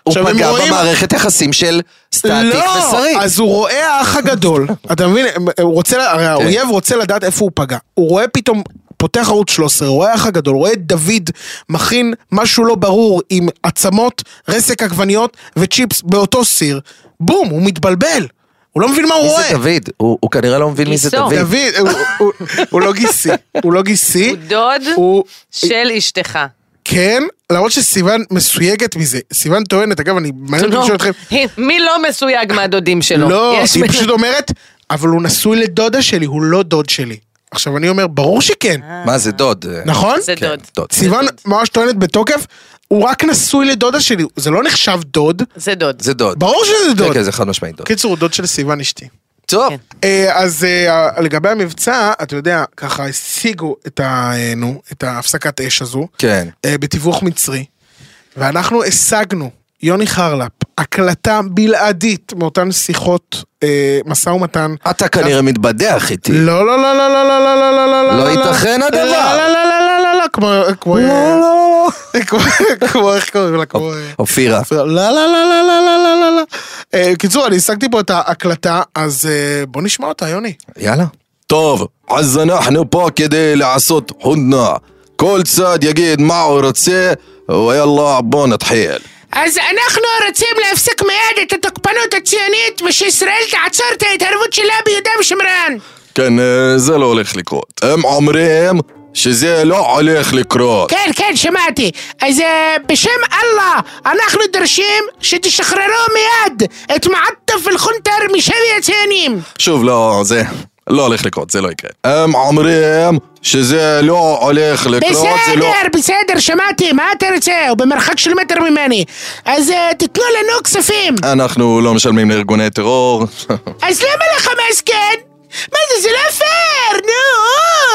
[SPEAKER 3] הוא
[SPEAKER 5] עכשיו, הם
[SPEAKER 3] פגע
[SPEAKER 5] רואים-
[SPEAKER 3] במערכת יחסים של סטטיק
[SPEAKER 2] לא,
[SPEAKER 3] ושרי.
[SPEAKER 2] אז הוא רואה האח הגדול, אתה מבין? הוא רוצה, הרי האויב רוצה לדעת איפה הוא פגע. הוא רואה פתאום, פותח ערוץ 13, רואה האח הגדול, רואה את דוד מכין משהו לא ברור עם עצמות, רסק עגבניות וצ'יפס באותו סיר. בום, הוא מתבלבל. הוא לא מבין מה הוא
[SPEAKER 3] מי
[SPEAKER 2] רואה.
[SPEAKER 3] זה דוד? הוא הוא כנראה לא מבין מי זה
[SPEAKER 4] גיסו.
[SPEAKER 3] דוד.
[SPEAKER 2] דוד, הוא- הוא- הוא לא גיסי, הוא לא גיסי.
[SPEAKER 4] הוא דוד
[SPEAKER 2] הוא
[SPEAKER 4] של אשתך.
[SPEAKER 2] כן, למרות שסיוון מסויגת מזה. סיוון טוענת, אגב, אני מעניין אותי
[SPEAKER 4] לא.
[SPEAKER 2] לשאול אתכם,
[SPEAKER 4] (laughs) מי לא מסויג מהדודים שלו?
[SPEAKER 2] לא,
[SPEAKER 4] יש
[SPEAKER 2] היא
[SPEAKER 4] בן-
[SPEAKER 2] פשוט אומרת, אבל הוא נשוי לדודה שלי, הוא לא דוד שלי. עכשיו, אני אומר, ברור שכן,
[SPEAKER 3] מה זה דוד?
[SPEAKER 2] נכון?
[SPEAKER 4] אה, זה
[SPEAKER 3] כן,
[SPEAKER 4] דוד.
[SPEAKER 3] דוד.
[SPEAKER 2] סיוון
[SPEAKER 4] דוד.
[SPEAKER 2] ממש טוענת בתוקף, הוא רק נשוי לדודה שלי, זה לא נחשב דוד,
[SPEAKER 4] זה דוד.
[SPEAKER 3] זה דוד.
[SPEAKER 2] ברור שזה
[SPEAKER 3] כן,
[SPEAKER 2] דוד.
[SPEAKER 3] כן, זה חד משמעית דוד.
[SPEAKER 2] קיצור, הוא דוד של סיוון אשתי.
[SPEAKER 3] טוב.
[SPEAKER 4] כן.
[SPEAKER 2] אה, אז אה, לגבי המבצע, אתה יודע, ככה השיגו את ה... אה, נו, את ההפסקת אש הזו,
[SPEAKER 3] כן.
[SPEAKER 2] אה, בתיווך מצרי, ואנחנו השגנו, יוני חרלפ, הקלטה בלעדית מאותן שיחות אה, משא ומתן.
[SPEAKER 3] אתה כנראה מתבדח איתי.
[SPEAKER 2] לא, לא, לא, לא, לא, לא, לא, לא, לא, לא,
[SPEAKER 3] לא
[SPEAKER 2] לא,
[SPEAKER 3] ייתכן
[SPEAKER 2] לא,
[SPEAKER 3] הדבר.
[SPEAKER 2] לא, לא, לא, לא, לא, לא, כמו- כמו... אה,
[SPEAKER 3] לא.
[SPEAKER 2] כמו, כמו, איך קוראים לה? כמו... אה,
[SPEAKER 3] אופירה.
[SPEAKER 2] לא, לא, לא, לא, לא, לא, לא, לא, לא. אה, קיצור, אני השגתי פה את ההקלטה, אז אה, בוא נשמע אותה, יוני.
[SPEAKER 3] יאללה. טוב, אז אנחנו פה כדי לעשות חודנה. כל צד יגיד מה הוא רוצה, ויאללה בוא נתחיל.
[SPEAKER 5] אז אנחנו רוצים להפסיק מיד את התוקפנות הציונית ושישראל תעצור את ההתערבות שלה ביהודה ושומרון.
[SPEAKER 3] כן, אה, זה לא הולך לקרות. הם אומרים שזה לא הולך לקרות.
[SPEAKER 5] כן, כן, שמעתי. אז אה, בשם אללה, אנחנו דורשים שתשחררו מיד את מעטף אל-חונטר משבי הציינים.
[SPEAKER 3] שוב, לא, זה... לא הולך לקרות, זה לא יקרה. הם אומרים שזה לא הולך לקרות, זה לא...
[SPEAKER 5] בסדר, בסדר, שמעתי, מה אתה רוצה? הוא במרחק של מטר ממני. אז אה, תיתנו לנו כספים.
[SPEAKER 3] אנחנו לא משלמים לארגוני טרור. (laughs)
[SPEAKER 5] אז למה לחמאס כן? מה זה, זה לא פייר, נו,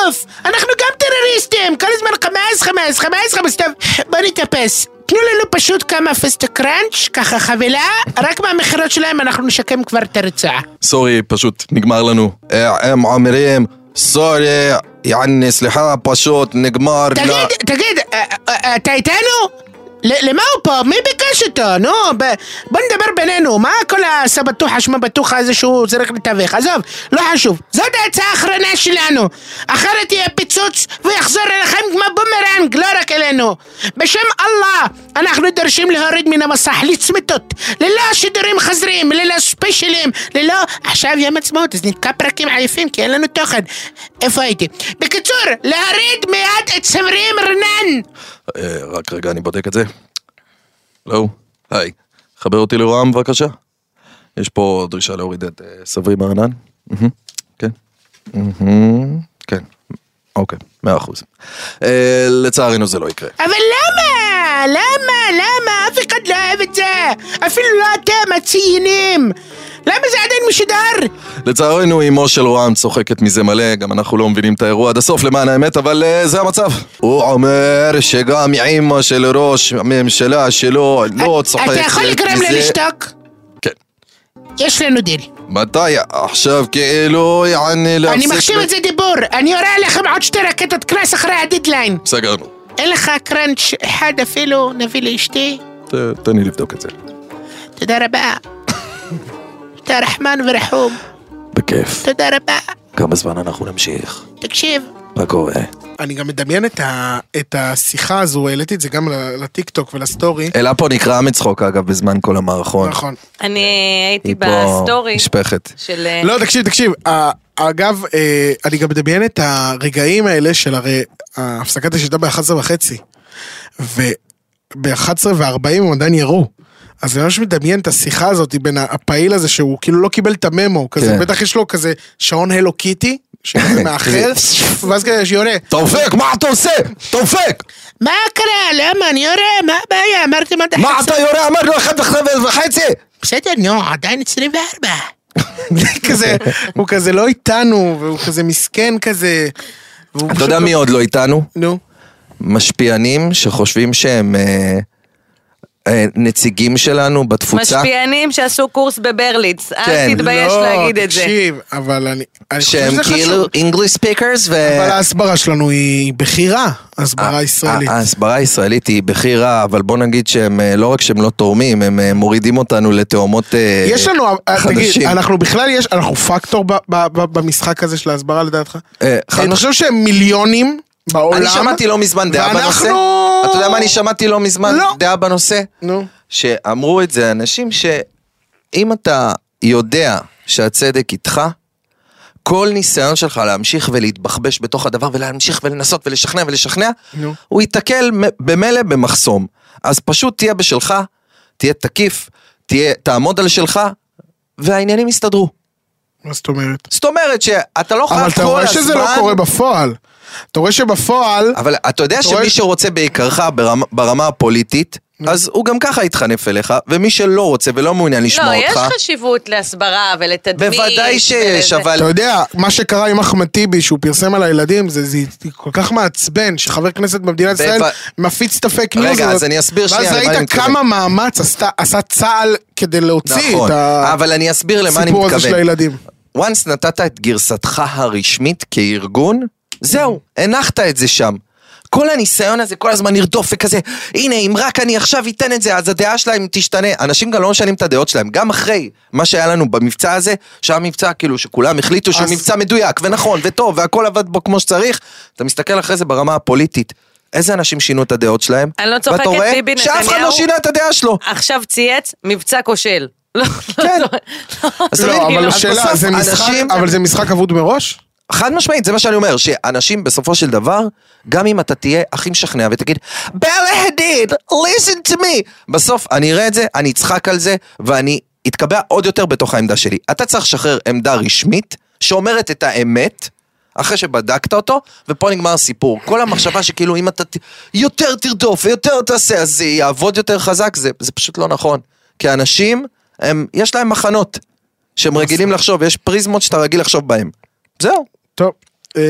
[SPEAKER 5] אוף! אנחנו גם טרוריסטים, כל הזמן חמאס, חמאס, חמאס, חמאס, טוב, בוא נתאפס. תנו לנו פשוט כמה פסטו קראנץ', ככה חבילה, רק מהמכירות שלהם אנחנו נשקם כבר את הרצועה.
[SPEAKER 3] סורי, פשוט נגמר לנו. אה, הם אומרים, סורי, יעני, סליחה, פשוט נגמר. לה."
[SPEAKER 5] תגיד, תגיד, אה, אה, אתה איתנו? ל- למה הוא פה? מי ביקש אותו? נו, ב- בוא נדבר בינינו, מה כל הסבטוחה שמבטוחה הזה שהוא צריך לתווך? עזוב, לא חשוב. זאת ההצעה האחרונה שלנו. אחרת יהיה פיצוץ ויחזור אליכם כמו בומרנג, לא רק אלינו. בשם אללה, אנחנו דורשים להוריד מן המסך לצמיתות, ללא שידורים חזרים, ללא ספיישלים, ללא... עכשיו יום עצמאות, אז נתקע פרקים עייפים כי אין לנו תוכן. איפה הייתי? בקיצור, להוריד מיד את סמרים רנן!
[SPEAKER 3] אה, רק רגע, אני בודק את זה. לא, היי, חבר אותי לרועם בבקשה. יש פה דרישה להוריד את אה, סברי מרנן. מהמם, כן. מהמם, כן. אוקיי, מאה אחוז. אה, לצערנו זה לא יקרה.
[SPEAKER 5] אבל למה? למה? למה? אף אחד לא אוהב את זה! אפילו לא אתם, הציינים! למה זה עדיין משודר?
[SPEAKER 3] לצערנו אמו של רועם צוחקת מזה מלא, גם אנחנו לא מבינים את האירוע עד הסוף למען האמת, אבל אה, זה המצב. הוא אומר שגם אמא של ראש הממשלה שלו לא צוחקת מזה.
[SPEAKER 5] אתה יכול לגרום לה לשתוק?
[SPEAKER 3] כן.
[SPEAKER 5] יש לנו דיל.
[SPEAKER 3] מתי עכשיו כאילו יעני להפסיק...
[SPEAKER 5] אני מחשיב
[SPEAKER 3] ל-
[SPEAKER 5] את זה דיבור. אני אורה עליכם עוד שתי רקטות קנס אחרי הדדליין.
[SPEAKER 3] סגרנו.
[SPEAKER 5] אין לך קראנץ' אחד אפילו, נביא לאשתי.
[SPEAKER 3] ת- תן לי לבדוק את זה.
[SPEAKER 5] תודה רבה. אתה רחמן ורחום.
[SPEAKER 3] בכיף.
[SPEAKER 5] תודה רבה.
[SPEAKER 3] כמה זמן אנחנו נמשיך?
[SPEAKER 5] תקשיב,
[SPEAKER 3] מה קורה?
[SPEAKER 2] אני גם מדמיין את, ה, את השיחה הזו, העליתי את זה גם ל- לטיקטוק ולסטורי.
[SPEAKER 3] אלה פה נקרעה מצחוק אגב בזמן כל המערכון.
[SPEAKER 2] נכון.
[SPEAKER 4] אני הייתי
[SPEAKER 3] היא פה
[SPEAKER 4] בסטורי
[SPEAKER 3] נשפכת.
[SPEAKER 4] של... אה,
[SPEAKER 2] לא, תקשיב, תקשיב. ה- אגב, אה, אני גם מדמיין את הרגעים האלה של הרי הפסקת השיטה ב-11 וחצי. וב-11 ו-40 הם עדיין ירו. אז אני ממש מדמיין את השיחה הזאת בין הפעיל הזה שהוא כאילו לא קיבל את הממו, הוא כזה,
[SPEAKER 3] כן.
[SPEAKER 2] בטח יש לו כזה שעון הלו קיטי,
[SPEAKER 3] (laughs)
[SPEAKER 2] שכזה מאחר, ואז כזה שיונה,
[SPEAKER 3] תאופק, מה אתה עושה? תאופק!
[SPEAKER 5] מה קרה? למה? אני יורה? מה הבעיה? אמרתי מה אתה...
[SPEAKER 3] מה אתה יורה? אמרנו אחת וחצי!
[SPEAKER 5] בסדר, נו, עדיין 24.
[SPEAKER 2] (laughs) כזה, הוא כזה לא איתנו, והוא כזה מסכן כזה. והוא
[SPEAKER 3] אתה
[SPEAKER 2] פשוט
[SPEAKER 3] יודע
[SPEAKER 2] לא-
[SPEAKER 3] מי עוד לא איתנו?
[SPEAKER 2] נו.
[SPEAKER 3] משפיענים שחושבים שהם אה, אה, נציגים שלנו בתפוצה.
[SPEAKER 4] משפיענים שעשו קורס בברליץ.
[SPEAKER 3] כן,
[SPEAKER 4] אל תתבייש
[SPEAKER 2] לא,
[SPEAKER 4] להגיד את זה.
[SPEAKER 2] תקשיב, אבל אני, אני חושב שזה
[SPEAKER 3] שהם כאילו
[SPEAKER 2] חשוב.
[SPEAKER 3] English speakers ו...
[SPEAKER 2] אבל ההסברה שלנו היא בכירה,
[SPEAKER 3] אה,
[SPEAKER 2] הסברה ישראלית.
[SPEAKER 3] ה- ההסברה הישראלית היא בכי רע, אבל בוא נגיד שהם אה, לא רק שהם לא תורמים, הם אה, מורידים אותנו לתאומות אה,
[SPEAKER 2] יש לנו, אה, תגיד,
[SPEAKER 3] חדשים.
[SPEAKER 2] אנחנו בכלל יש, אנחנו פקטור ב- ב- ב- במשחק הזה של ההסברה לדעתך?
[SPEAKER 3] אה, חד
[SPEAKER 2] אני
[SPEAKER 3] מש-
[SPEAKER 2] חושב שהם מיליונים בעולם.
[SPEAKER 3] אני שמעתי לא מזמן דעה
[SPEAKER 2] ואנחנו-
[SPEAKER 3] בנושא. אתה יודע מה אני שמעתי לא מזמן?
[SPEAKER 2] לא.
[SPEAKER 3] דעה בנושא?
[SPEAKER 2] נו.
[SPEAKER 3] שאמרו את זה אנשים שאם אתה יודע שהצדק איתך, כל ניסיון שלך להמשיך ולהתבחבש בתוך הדבר ולהמשיך ולנסות ולשכנע ולשכנע,
[SPEAKER 2] נו.
[SPEAKER 3] הוא ייתקל מ- במילא במחסום. אז פשוט תהיה בשלך, תהיה תקיף, תהיה, תעמוד על שלך, והעניינים יסתדרו.
[SPEAKER 2] מה זאת אומרת?
[SPEAKER 3] זאת אומרת שאתה לא חייב כל הזמן...
[SPEAKER 2] אבל אתה רואה שזה לא קורה בפועל. אתה רואה שבפועל,
[SPEAKER 3] אבל אתה יודע
[SPEAKER 2] אתה רואה-
[SPEAKER 3] שמי שרוצה בעיקרך ברמה- ברמה הפוליטית, אז הוא גם ככה יתחנף אליך, ומי שלא רוצה ולא מעוניין
[SPEAKER 4] לא,
[SPEAKER 3] לשמוע
[SPEAKER 4] יש
[SPEAKER 3] אותך,
[SPEAKER 4] חשיבות להסברה ולתדמית.
[SPEAKER 3] בוודאי שיש,
[SPEAKER 4] ולזה.
[SPEAKER 3] אבל...
[SPEAKER 2] אתה יודע, מה שקרה עם אחמד טיבי, שהוא פרסם על הילדים, זה זה כל כך מעצבן, שחבר כנסת במדינת ישראל מפיץ את הפייק ניוז.
[SPEAKER 3] רגע,
[SPEAKER 2] הזאת.
[SPEAKER 3] אז אני אסביר שנייה
[SPEAKER 2] ואז
[SPEAKER 3] למה אני
[SPEAKER 2] ראית
[SPEAKER 3] מתכוון.
[SPEAKER 2] כמה מאמץ עשתה- עשה צה"ל כדי להוציא
[SPEAKER 3] נכון,
[SPEAKER 2] את ה...
[SPEAKER 3] אבל אני אסביר למה אני
[SPEAKER 2] הסיפור הזה של
[SPEAKER 3] מתכוון.
[SPEAKER 2] הילדים.
[SPEAKER 3] once נתת את גרסתך הרשמית כארגון, זהו, הנחת את זה שם. כל הניסיון הזה, כל הזמן לרדוף וכזה, הנה, אם רק אני עכשיו אתן את זה, אז הדעה שלהם תשתנה. אנשים גם לא משנים את הדעות שלהם, גם אחרי מה שהיה לנו במבצע הזה, שהיה מבצע כאילו שכולם החליטו שהוא
[SPEAKER 2] אז-
[SPEAKER 3] מבצע מדויק ונכון וטוב והכל עבד בו כמו שצריך, אתה מסתכל אחרי זה ברמה הפוליטית. איזה אנשים שינו את הדעות שלהם?
[SPEAKER 4] אני לא צוחקת,
[SPEAKER 3] ואתה רואה
[SPEAKER 4] ביבי
[SPEAKER 3] שאף אחד לא
[SPEAKER 4] נתניהו-
[SPEAKER 3] שינה את הדעה שלו.
[SPEAKER 4] עכשיו צייץ, מבצע כושל. (laughs) לא,
[SPEAKER 3] כן.
[SPEAKER 4] לא, לא.
[SPEAKER 3] אז אתה מבין,
[SPEAKER 2] לא, אבל
[SPEAKER 3] כאילו, אז
[SPEAKER 2] השאלה,
[SPEAKER 3] בסוף
[SPEAKER 2] זה משחק-
[SPEAKER 3] אנשים-
[SPEAKER 2] אבל זה משחק אבוד מראש?
[SPEAKER 3] חד משמעית, זה מה שאני אומר, שאנשים בסופו של דבר, גם אם אתה תהיה הכי משכנע ותגיד, בלה הדיד, listen to me, בסוף אני אראה את זה, אני אצחק על זה, ואני אתקבע עוד יותר בתוך העמדה שלי. אתה צריך לשחרר עמדה רשמית, שאומרת את האמת, אחרי שבדקת אותו, ופה נגמר הסיפור. כל המחשבה שכאילו אם אתה ת- יותר תרדוף ויותר תעשה, אז זה יעבוד יותר חזק, זה, זה פשוט לא נכון. כי אנשים, הם, יש להם מחנות, שהם רגילים לחשוב, יש פריזמות שאתה רגיל לחשוב בהם. זהו.
[SPEAKER 2] טוב. אה,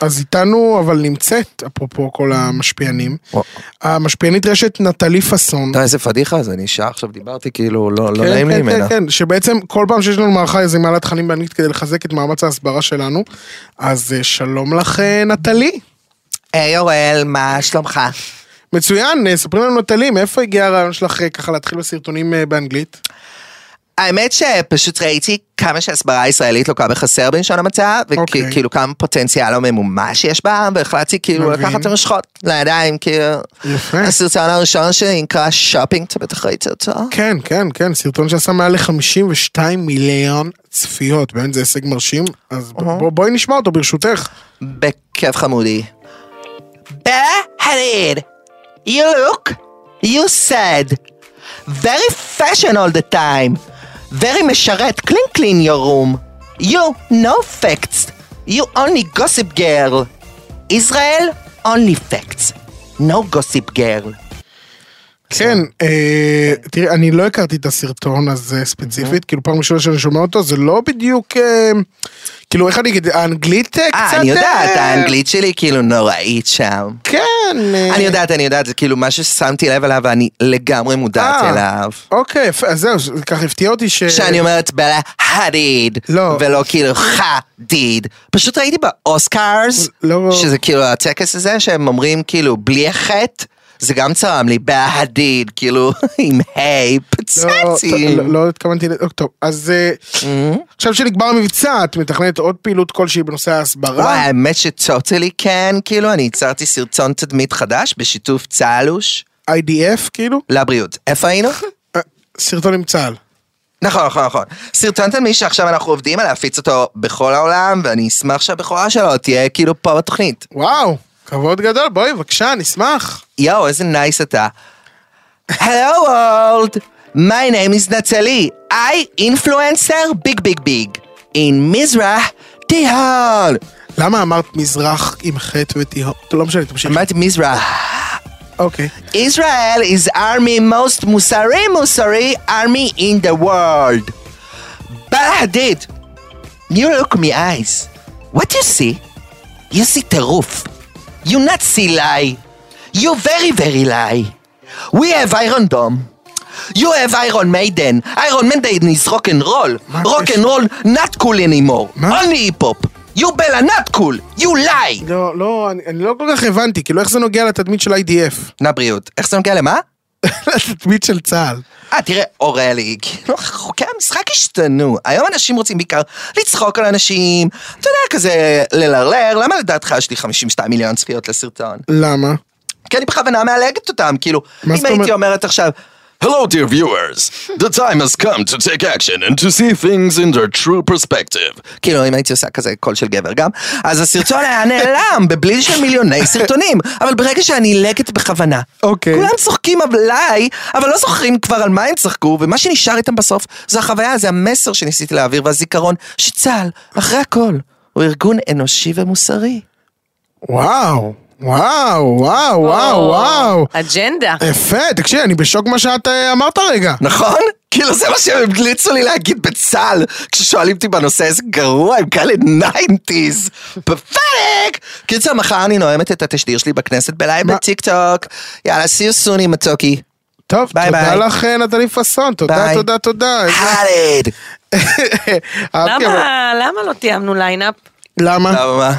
[SPEAKER 2] אז איתנו אבל נמצאת, אפרופו כל המשפיענים,
[SPEAKER 3] וואו.
[SPEAKER 2] המשפיענית רשת נטלי פאסון.
[SPEAKER 3] אתה איזה פדיחה, אז אני שעה עכשיו דיברתי, כאילו, לא לא
[SPEAKER 2] כן,
[SPEAKER 3] נעים לי
[SPEAKER 2] כן, כן,
[SPEAKER 3] ממנה.
[SPEAKER 2] כן, שבעצם כל פעם שיש לנו מערכה אז היא מעלה תכנים באנגלית כדי לחזק את מאמץ ההסברה שלנו. אז אה, שלום לך אה, נטלי.
[SPEAKER 3] היי אוראל, מה שלומך?
[SPEAKER 2] מצוין, אה, ספרי לנו נטלי, מאיפה הגיע הרעיון שלך אה, ככה להתחיל בסרטונים אה, באנגלית?
[SPEAKER 6] האמת שפשוט ראיתי כמה שההסברה הישראלית לוקה בחסר בלשון המעטה,
[SPEAKER 2] אוקיי.
[SPEAKER 6] וכאילו כמה פוטנציאל לא ממומש יש בה, והחלטתי כאילו
[SPEAKER 2] מבין.
[SPEAKER 6] לקחת את המושכות לידיים, כאילו.
[SPEAKER 2] יפה.
[SPEAKER 6] הסרטון הראשון שלי נקרא שופינג, אתה בטח ראית אותו?
[SPEAKER 2] כן, כן, כן, סרטון שעשה מעל ל-52 מיליון צפיות, באמת זה הישג מרשים, אז ב- בוא- בואי נשמע אותו ברשותך.
[SPEAKER 6] בכיף חמודי. Bareheaded. You look, you said. Very fashion all the time. Very משרת, clean clean your room. You, no facts. You only gossip girl. Israel, only facts. No gossip girl. אה,
[SPEAKER 2] כן, אה, תראי, אני לא הכרתי את הסרטון הזה ספציפית, כאילו פעם ראשונה שאני שומע אותו, זה לא בדיוק, אה, כאילו איך אני אגיד, האנגלית אה, קצת...
[SPEAKER 6] אה, אני יודעת,
[SPEAKER 2] אה,
[SPEAKER 6] האנגלית שלי כאילו נוראית שם.
[SPEAKER 2] כן. אה,
[SPEAKER 6] אני יודעת, אני יודעת, זה כאילו משהו ששמתי לב אליו ואני לגמרי מודעת
[SPEAKER 2] אה,
[SPEAKER 6] אליו.
[SPEAKER 2] אוקיי, יפה, אז זהו, זה ככה הפתיע אותי ש...
[SPEAKER 6] שאני אומרת בלה הדיד,
[SPEAKER 2] לא.
[SPEAKER 6] ולא כאילו חדיד. פשוט ראיתי באוסקארס,
[SPEAKER 2] לא-
[SPEAKER 6] שזה כאילו הטקס הזה שהם אומרים כאילו בלי החטא, זה גם צרם לי, בלה הדיד, כאילו (laughs) עם היי,
[SPEAKER 2] לא,
[SPEAKER 6] פצצים.
[SPEAKER 2] לא- לא התכוונתי, ל- טוב, אז אה,
[SPEAKER 6] Mm-hmm.
[SPEAKER 2] עכשיו שנגמר המבצע, את מתכננת עוד פעילות כלשהי בנושא
[SPEAKER 6] וואי,
[SPEAKER 2] ההסברה?
[SPEAKER 6] האמת שטוטלי כן, כאילו, אני יצרתי סרטון תדמית חדש בשיתוף צהלוש
[SPEAKER 2] IDF כאילו?
[SPEAKER 6] לבריאות. איפה
[SPEAKER 2] (laughs)
[SPEAKER 6] היינו?
[SPEAKER 2] אה, סרטון עם צה"ל.
[SPEAKER 6] נכון, נכון, נכון. סרטון תדמית שעכשיו אנחנו עובדים על להפיץ אותו בכל העולם, ואני אשמח שהבכורה שלו תהיה כאילו פה בתוכנית.
[SPEAKER 2] וואו, כבוד גדול, בואי בבקשה, נשמח.
[SPEAKER 6] יואו, איזה נייס אתה. uh, Hello world, my name is Natalie. I influencer big big big in מזרח תיהון.
[SPEAKER 2] למה אמרת מזרח עם חטא וטיהור? לא משנה, תמשיכי.
[SPEAKER 6] אמרתי מזרח.
[SPEAKER 2] אוקיי.
[SPEAKER 6] Israel is army most מוסרי מוסרי army in the world. בהדית. You look me eyes. What you see? You see טירוף. You not see lie. You very very lie. We have iron dome. You have Iron Maiden. Iron Maiden is rock and roll.
[SPEAKER 2] מה
[SPEAKER 6] rock
[SPEAKER 2] הקשר?
[SPEAKER 6] and roll not cool anymore.
[SPEAKER 2] מה?
[SPEAKER 6] only hip hop. You Bella not cool. You lie.
[SPEAKER 2] לא, לא, אני- אני לא כל כך הבנתי, כאילו איך זה נוגע לתדמית של IDF?
[SPEAKER 6] נא בריאות. איך זה נוגע למה?
[SPEAKER 2] (laughs) לתדמית של צה"ל.
[SPEAKER 6] אה, תראה, אורלי, כאילו, חוקי המשחק השתנו. היום אנשים רוצים בעיקר לצחוק על אנשים, אתה יודע, כזה ללרלר, למה לדעתך יש לי 52 מיליון צפיות לסרטון?
[SPEAKER 2] למה?
[SPEAKER 6] כי אני בכוונה מאלגת אותם, כאילו,
[SPEAKER 2] מה
[SPEAKER 6] אם
[SPEAKER 2] זאת
[SPEAKER 6] הייתי
[SPEAKER 2] אומרת?
[SPEAKER 6] אומרת עכשיו,
[SPEAKER 3] Hello, dear viewers. The time has come to take action and to see things in their true perspective.
[SPEAKER 6] כאילו, אם הייתי עושה כזה קול של גבר גם, אז הסרטון היה נעלם בבליל של מיליוני סרטונים. אבל ברגע שאני לקט בכוונה,
[SPEAKER 2] אוקיי.
[SPEAKER 6] כולם צוחקים עליי, אבל לא זוכרים כבר על מה הם צחקו, ומה שנשאר איתם בסוף זה החוויה, זה המסר שניסיתי להעביר, והזיכרון שצה"ל, אחרי הכל, הוא ארגון אנושי ומוסרי.
[SPEAKER 2] וואו, וואו, וואו, וואו, וואו.
[SPEAKER 4] לא, אג'נדה.
[SPEAKER 2] יפה, תקשיב, אני בשוק מה שאת אה, אמרת רגע.
[SPEAKER 6] נכון? כאילו זה מה שהם המליצו לי להגיד בצה"ל, כששואלים אותי בנושא איזה גרוע, הם כאלה ניינטיז, פפאק! קיצר, מחר אני נואמת את התשדיר שלי בכנסת בלייב
[SPEAKER 2] מה?
[SPEAKER 6] בטיק טוק. יאללה, see you soon עם הטוקי.
[SPEAKER 2] טוב,
[SPEAKER 6] ביי,
[SPEAKER 2] תודה
[SPEAKER 6] ביי.
[SPEAKER 2] לך אה, נטלי פסון, תודה,
[SPEAKER 6] ביי.
[SPEAKER 2] תודה, תודה.
[SPEAKER 6] חאלד!
[SPEAKER 2] אהבתי, אה, אוקיי, אבל-
[SPEAKER 4] אה. למה למה לא תיאמנו ליינאפ?
[SPEAKER 2] למה?
[SPEAKER 6] למה מה?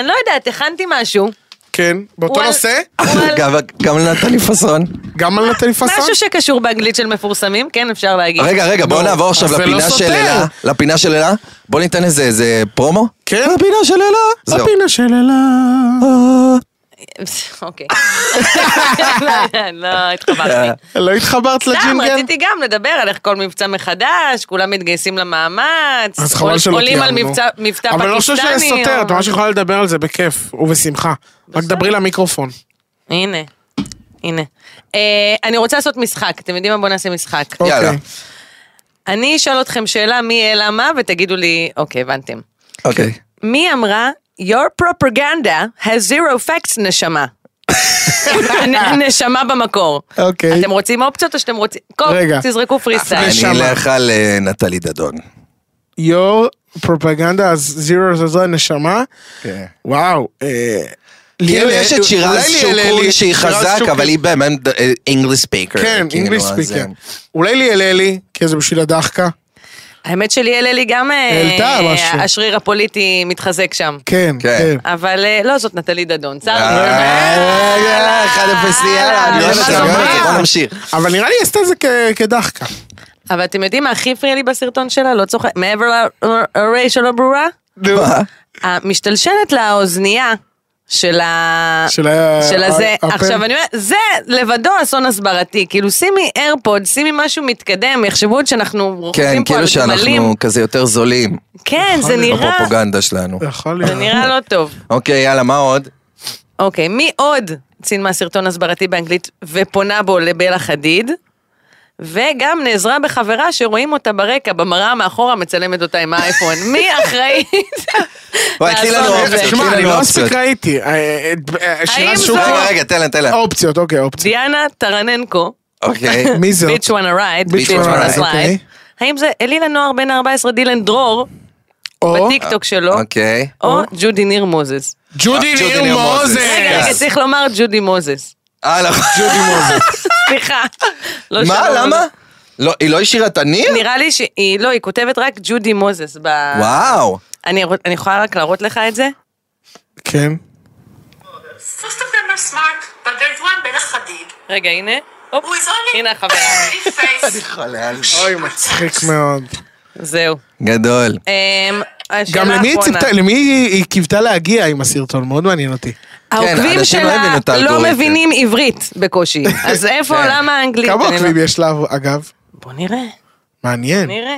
[SPEAKER 4] אני לא יודעת, הכנתי משהו.
[SPEAKER 2] כן, באותו
[SPEAKER 4] הוא על-
[SPEAKER 2] נושא?
[SPEAKER 4] הוא על-
[SPEAKER 6] גם- גם לנטלי פסון.
[SPEAKER 2] גם על נטלי פסון?
[SPEAKER 4] משהו שקשור באנגלית של מפורסמים, כן, אפשר להגיד.
[SPEAKER 3] רגע, רגע, בואו
[SPEAKER 2] נו,
[SPEAKER 3] נעבור עכשיו
[SPEAKER 2] אז זה לא
[SPEAKER 3] לפינה של
[SPEAKER 2] סותר.
[SPEAKER 3] אלה. לפינה של אלה. בואו ניתן איזה איזה פרומו.
[SPEAKER 2] כן.
[SPEAKER 3] לפינה של אלה. זהו.
[SPEAKER 2] הפינה של אלה.
[SPEAKER 4] אוקיי. (laughs) לא, לא, התחברתי.
[SPEAKER 2] לא התחברת
[SPEAKER 4] סתם,
[SPEAKER 2] לג'ינגל?
[SPEAKER 4] אה. רציתי גם לדבר על איך כל מבצע מחדש, כולם מתגייסים למאמץ,
[SPEAKER 2] אז חבל שלא
[SPEAKER 4] עולים על
[SPEAKER 2] תיאמנו.
[SPEAKER 4] מבצע מבצע פקיסטני.
[SPEAKER 2] אבל לא חושב שזה סותר,
[SPEAKER 4] או-
[SPEAKER 2] את ממש יכולה לדבר על זה בכיף ובשמחה. רק דברי למיקרופון.
[SPEAKER 4] הנה, הנה. אה, אני רוצה לעשות משחק, אתם יודעים מה? בואו נעשה משחק.
[SPEAKER 3] יאללה.
[SPEAKER 2] אוקיי.
[SPEAKER 4] אני אשאל אתכם שאלה מי אלא מה, ותגידו לי, אוקיי, הבנתם.
[SPEAKER 3] אוקיי.
[SPEAKER 4] מי אמרה, your propaganda has zero facts, נשמה. נ- נשמה במקור.
[SPEAKER 2] אוקיי.
[SPEAKER 4] אתם רוצים אופציות או שאתם רוצים... קוב,
[SPEAKER 2] רגע.
[SPEAKER 4] תזרקו פרי סטייל.
[SPEAKER 3] אני
[SPEAKER 2] נשמה.
[SPEAKER 3] אלך על אה, נטלי דדון.
[SPEAKER 2] יור פרופגנדה, אז זירו זה זו הנשמה.
[SPEAKER 3] כן.
[SPEAKER 2] וואו. אה,
[SPEAKER 6] כאילו
[SPEAKER 2] ליאל-
[SPEAKER 6] יש את שירז
[SPEAKER 2] אולי ליאל אלי-
[SPEAKER 6] שוקול שהיא
[SPEAKER 2] שירז
[SPEAKER 6] חזק,
[SPEAKER 2] שוקול.
[SPEAKER 6] אבל היא באמת
[SPEAKER 3] uh,
[SPEAKER 6] English speaker.
[SPEAKER 2] כן,
[SPEAKER 6] כאילו,
[SPEAKER 2] אינגליש
[SPEAKER 6] אז,
[SPEAKER 2] ספיקר.
[SPEAKER 6] אה,
[SPEAKER 2] אולי ליאל אלי, כי זה בשביל הדחקה.
[SPEAKER 4] האמת שלי אלה לי גם... אה,
[SPEAKER 2] העלתה משהו.
[SPEAKER 4] השריר הפוליטי מתחזק שם.
[SPEAKER 2] כן,
[SPEAKER 3] כן.
[SPEAKER 2] כן.
[SPEAKER 4] אבל אה, לא, זאת נטלי דדון, צר לי.
[SPEAKER 3] אה, יאללה, 1-0 לי,
[SPEAKER 4] אה,
[SPEAKER 3] יאללה, אני אוהב את זה, אני אוהב את זה,
[SPEAKER 2] נשמה.
[SPEAKER 3] בוא נמשיך.
[SPEAKER 2] אבל נראה לי היא עשתה את זה כ- כדחקה.
[SPEAKER 4] אבל אתם יודעים מה הכי הפריע לי בסרטון שלה? לא צוחק. מעבר לריי שלא ברורה?
[SPEAKER 3] מה?
[SPEAKER 4] המשתלשלת לאוזנייה של ה...
[SPEAKER 2] של ה-
[SPEAKER 4] של הזה.
[SPEAKER 2] ה- הפה.
[SPEAKER 4] עכשיו אני אומרת, זה לבדו אסון הסברתי. כאילו שימי איירפוד, שימי משהו מתקדם, יחשבו עוד שאנחנו
[SPEAKER 3] כן,
[SPEAKER 4] רוכבים פה על
[SPEAKER 3] כאילו
[SPEAKER 4] גמלים.
[SPEAKER 3] שאנחנו נכון, כזה יותר זולים.
[SPEAKER 4] כן, זה נראה,
[SPEAKER 3] בפרופוגנדה שלנו.
[SPEAKER 2] יכול
[SPEAKER 4] זה
[SPEAKER 2] להיות.
[SPEAKER 4] נראה לא טוב.
[SPEAKER 3] אוקיי, יאללה, מה עוד?
[SPEAKER 4] אוקיי, מי עוד צילמה סרטון הסברתי באנגלית ופונה בו לבלה חדיד? וגם נעזרה בחברה שרואים אותה ברקע, במראה מאחורה מצלמת אותה עם האייפון. מי אחראית?
[SPEAKER 3] וואי, תני לנו
[SPEAKER 4] לעשות את זה?
[SPEAKER 3] אופציות,
[SPEAKER 2] שמע,
[SPEAKER 6] כאילו,
[SPEAKER 3] תני
[SPEAKER 2] אני
[SPEAKER 3] לנו
[SPEAKER 2] לא
[SPEAKER 3] אופציות.
[SPEAKER 2] מספיק ראיתי. אה, אה, אה,
[SPEAKER 4] האם
[SPEAKER 2] שירז
[SPEAKER 4] זו-
[SPEAKER 2] שוקו.
[SPEAKER 3] רגע, רגע, תן לה, תן לה.
[SPEAKER 2] אופציות, אוקיי, אופציות.
[SPEAKER 4] דיאנה טרננקו,
[SPEAKER 3] אוקיי.
[SPEAKER 2] מי זאת?
[SPEAKER 4] ביץ' וואנה רייד,
[SPEAKER 2] Bitch
[SPEAKER 4] ביץ'
[SPEAKER 3] Wanna
[SPEAKER 4] וואנה
[SPEAKER 3] Ride,
[SPEAKER 2] אוקיי.
[SPEAKER 4] סלייד. האם זה אלילה נוער בן 14 דילן דרור,
[SPEAKER 2] או
[SPEAKER 4] בטיקטוק שלו,
[SPEAKER 3] אוקיי.
[SPEAKER 4] או ג'ודי ניר מוזס?
[SPEAKER 6] אה,
[SPEAKER 2] ג'ודי
[SPEAKER 3] ג'ודי
[SPEAKER 2] ניר
[SPEAKER 3] ניר
[SPEAKER 2] מוזס.
[SPEAKER 3] מוזס.
[SPEAKER 4] רגע, רגע, צריך לומר ג'ודי מוזס. (laughs)
[SPEAKER 3] אה, נכון.
[SPEAKER 4] סליחה. לא
[SPEAKER 3] מה,
[SPEAKER 4] שמענו.
[SPEAKER 3] למה? לא, היא לא השאירה את הניר?
[SPEAKER 4] נראה לי שהיא, לא, היא כותבת רק ג'ודי מוזס ב...
[SPEAKER 3] וואו.
[SPEAKER 4] אני רוצ- אני יכולה רק להראות לך את זה?
[SPEAKER 2] כן.
[SPEAKER 7] Most of them are smart, but there's one Bela Hadid
[SPEAKER 4] רגע, הנה. הופ,
[SPEAKER 7] who is only
[SPEAKER 4] הנה החברה.
[SPEAKER 7] straight
[SPEAKER 6] (laughs)
[SPEAKER 7] face.
[SPEAKER 2] אוי, מצחיק מאוד.
[SPEAKER 4] זהו.
[SPEAKER 3] גדול.
[SPEAKER 4] אמ, השאלה
[SPEAKER 2] גם למי היא
[SPEAKER 4] האחרונה.
[SPEAKER 2] ציפתה- למי היא היא קיוותה להגיע עם הסרטון? מאוד מעניין אותי.
[SPEAKER 4] העוקבים
[SPEAKER 3] אנשים לא
[SPEAKER 4] שלה
[SPEAKER 3] הבינו את
[SPEAKER 4] לא
[SPEAKER 3] האלגוריתם.
[SPEAKER 4] מבינים עברית בקושי. אז איפה, למה האנגלית?
[SPEAKER 2] כמה
[SPEAKER 4] אני לא-
[SPEAKER 2] עוקבים יש לה, אגב?
[SPEAKER 4] בוא נראה,
[SPEAKER 2] מעניין.
[SPEAKER 4] נראה.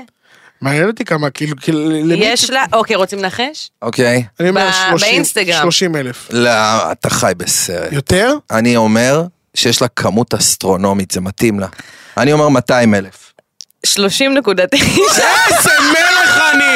[SPEAKER 2] מעניין אותי כמה, כאילו, כאילו, למי...
[SPEAKER 4] יש לה, אוקיי, רוצים לנחש?
[SPEAKER 3] אוקיי.
[SPEAKER 2] אני אומר
[SPEAKER 4] ב-
[SPEAKER 2] 30,
[SPEAKER 4] באינסטגרם.
[SPEAKER 2] 30 אלף.
[SPEAKER 3] לא, אתה חי בסרט.
[SPEAKER 2] יותר?
[SPEAKER 3] אני אומר שיש לה כמות אסטרונומית, זה מתאים לה. אני אומר 200 אלף.
[SPEAKER 4] 30.9.
[SPEAKER 2] איזה מלך אני!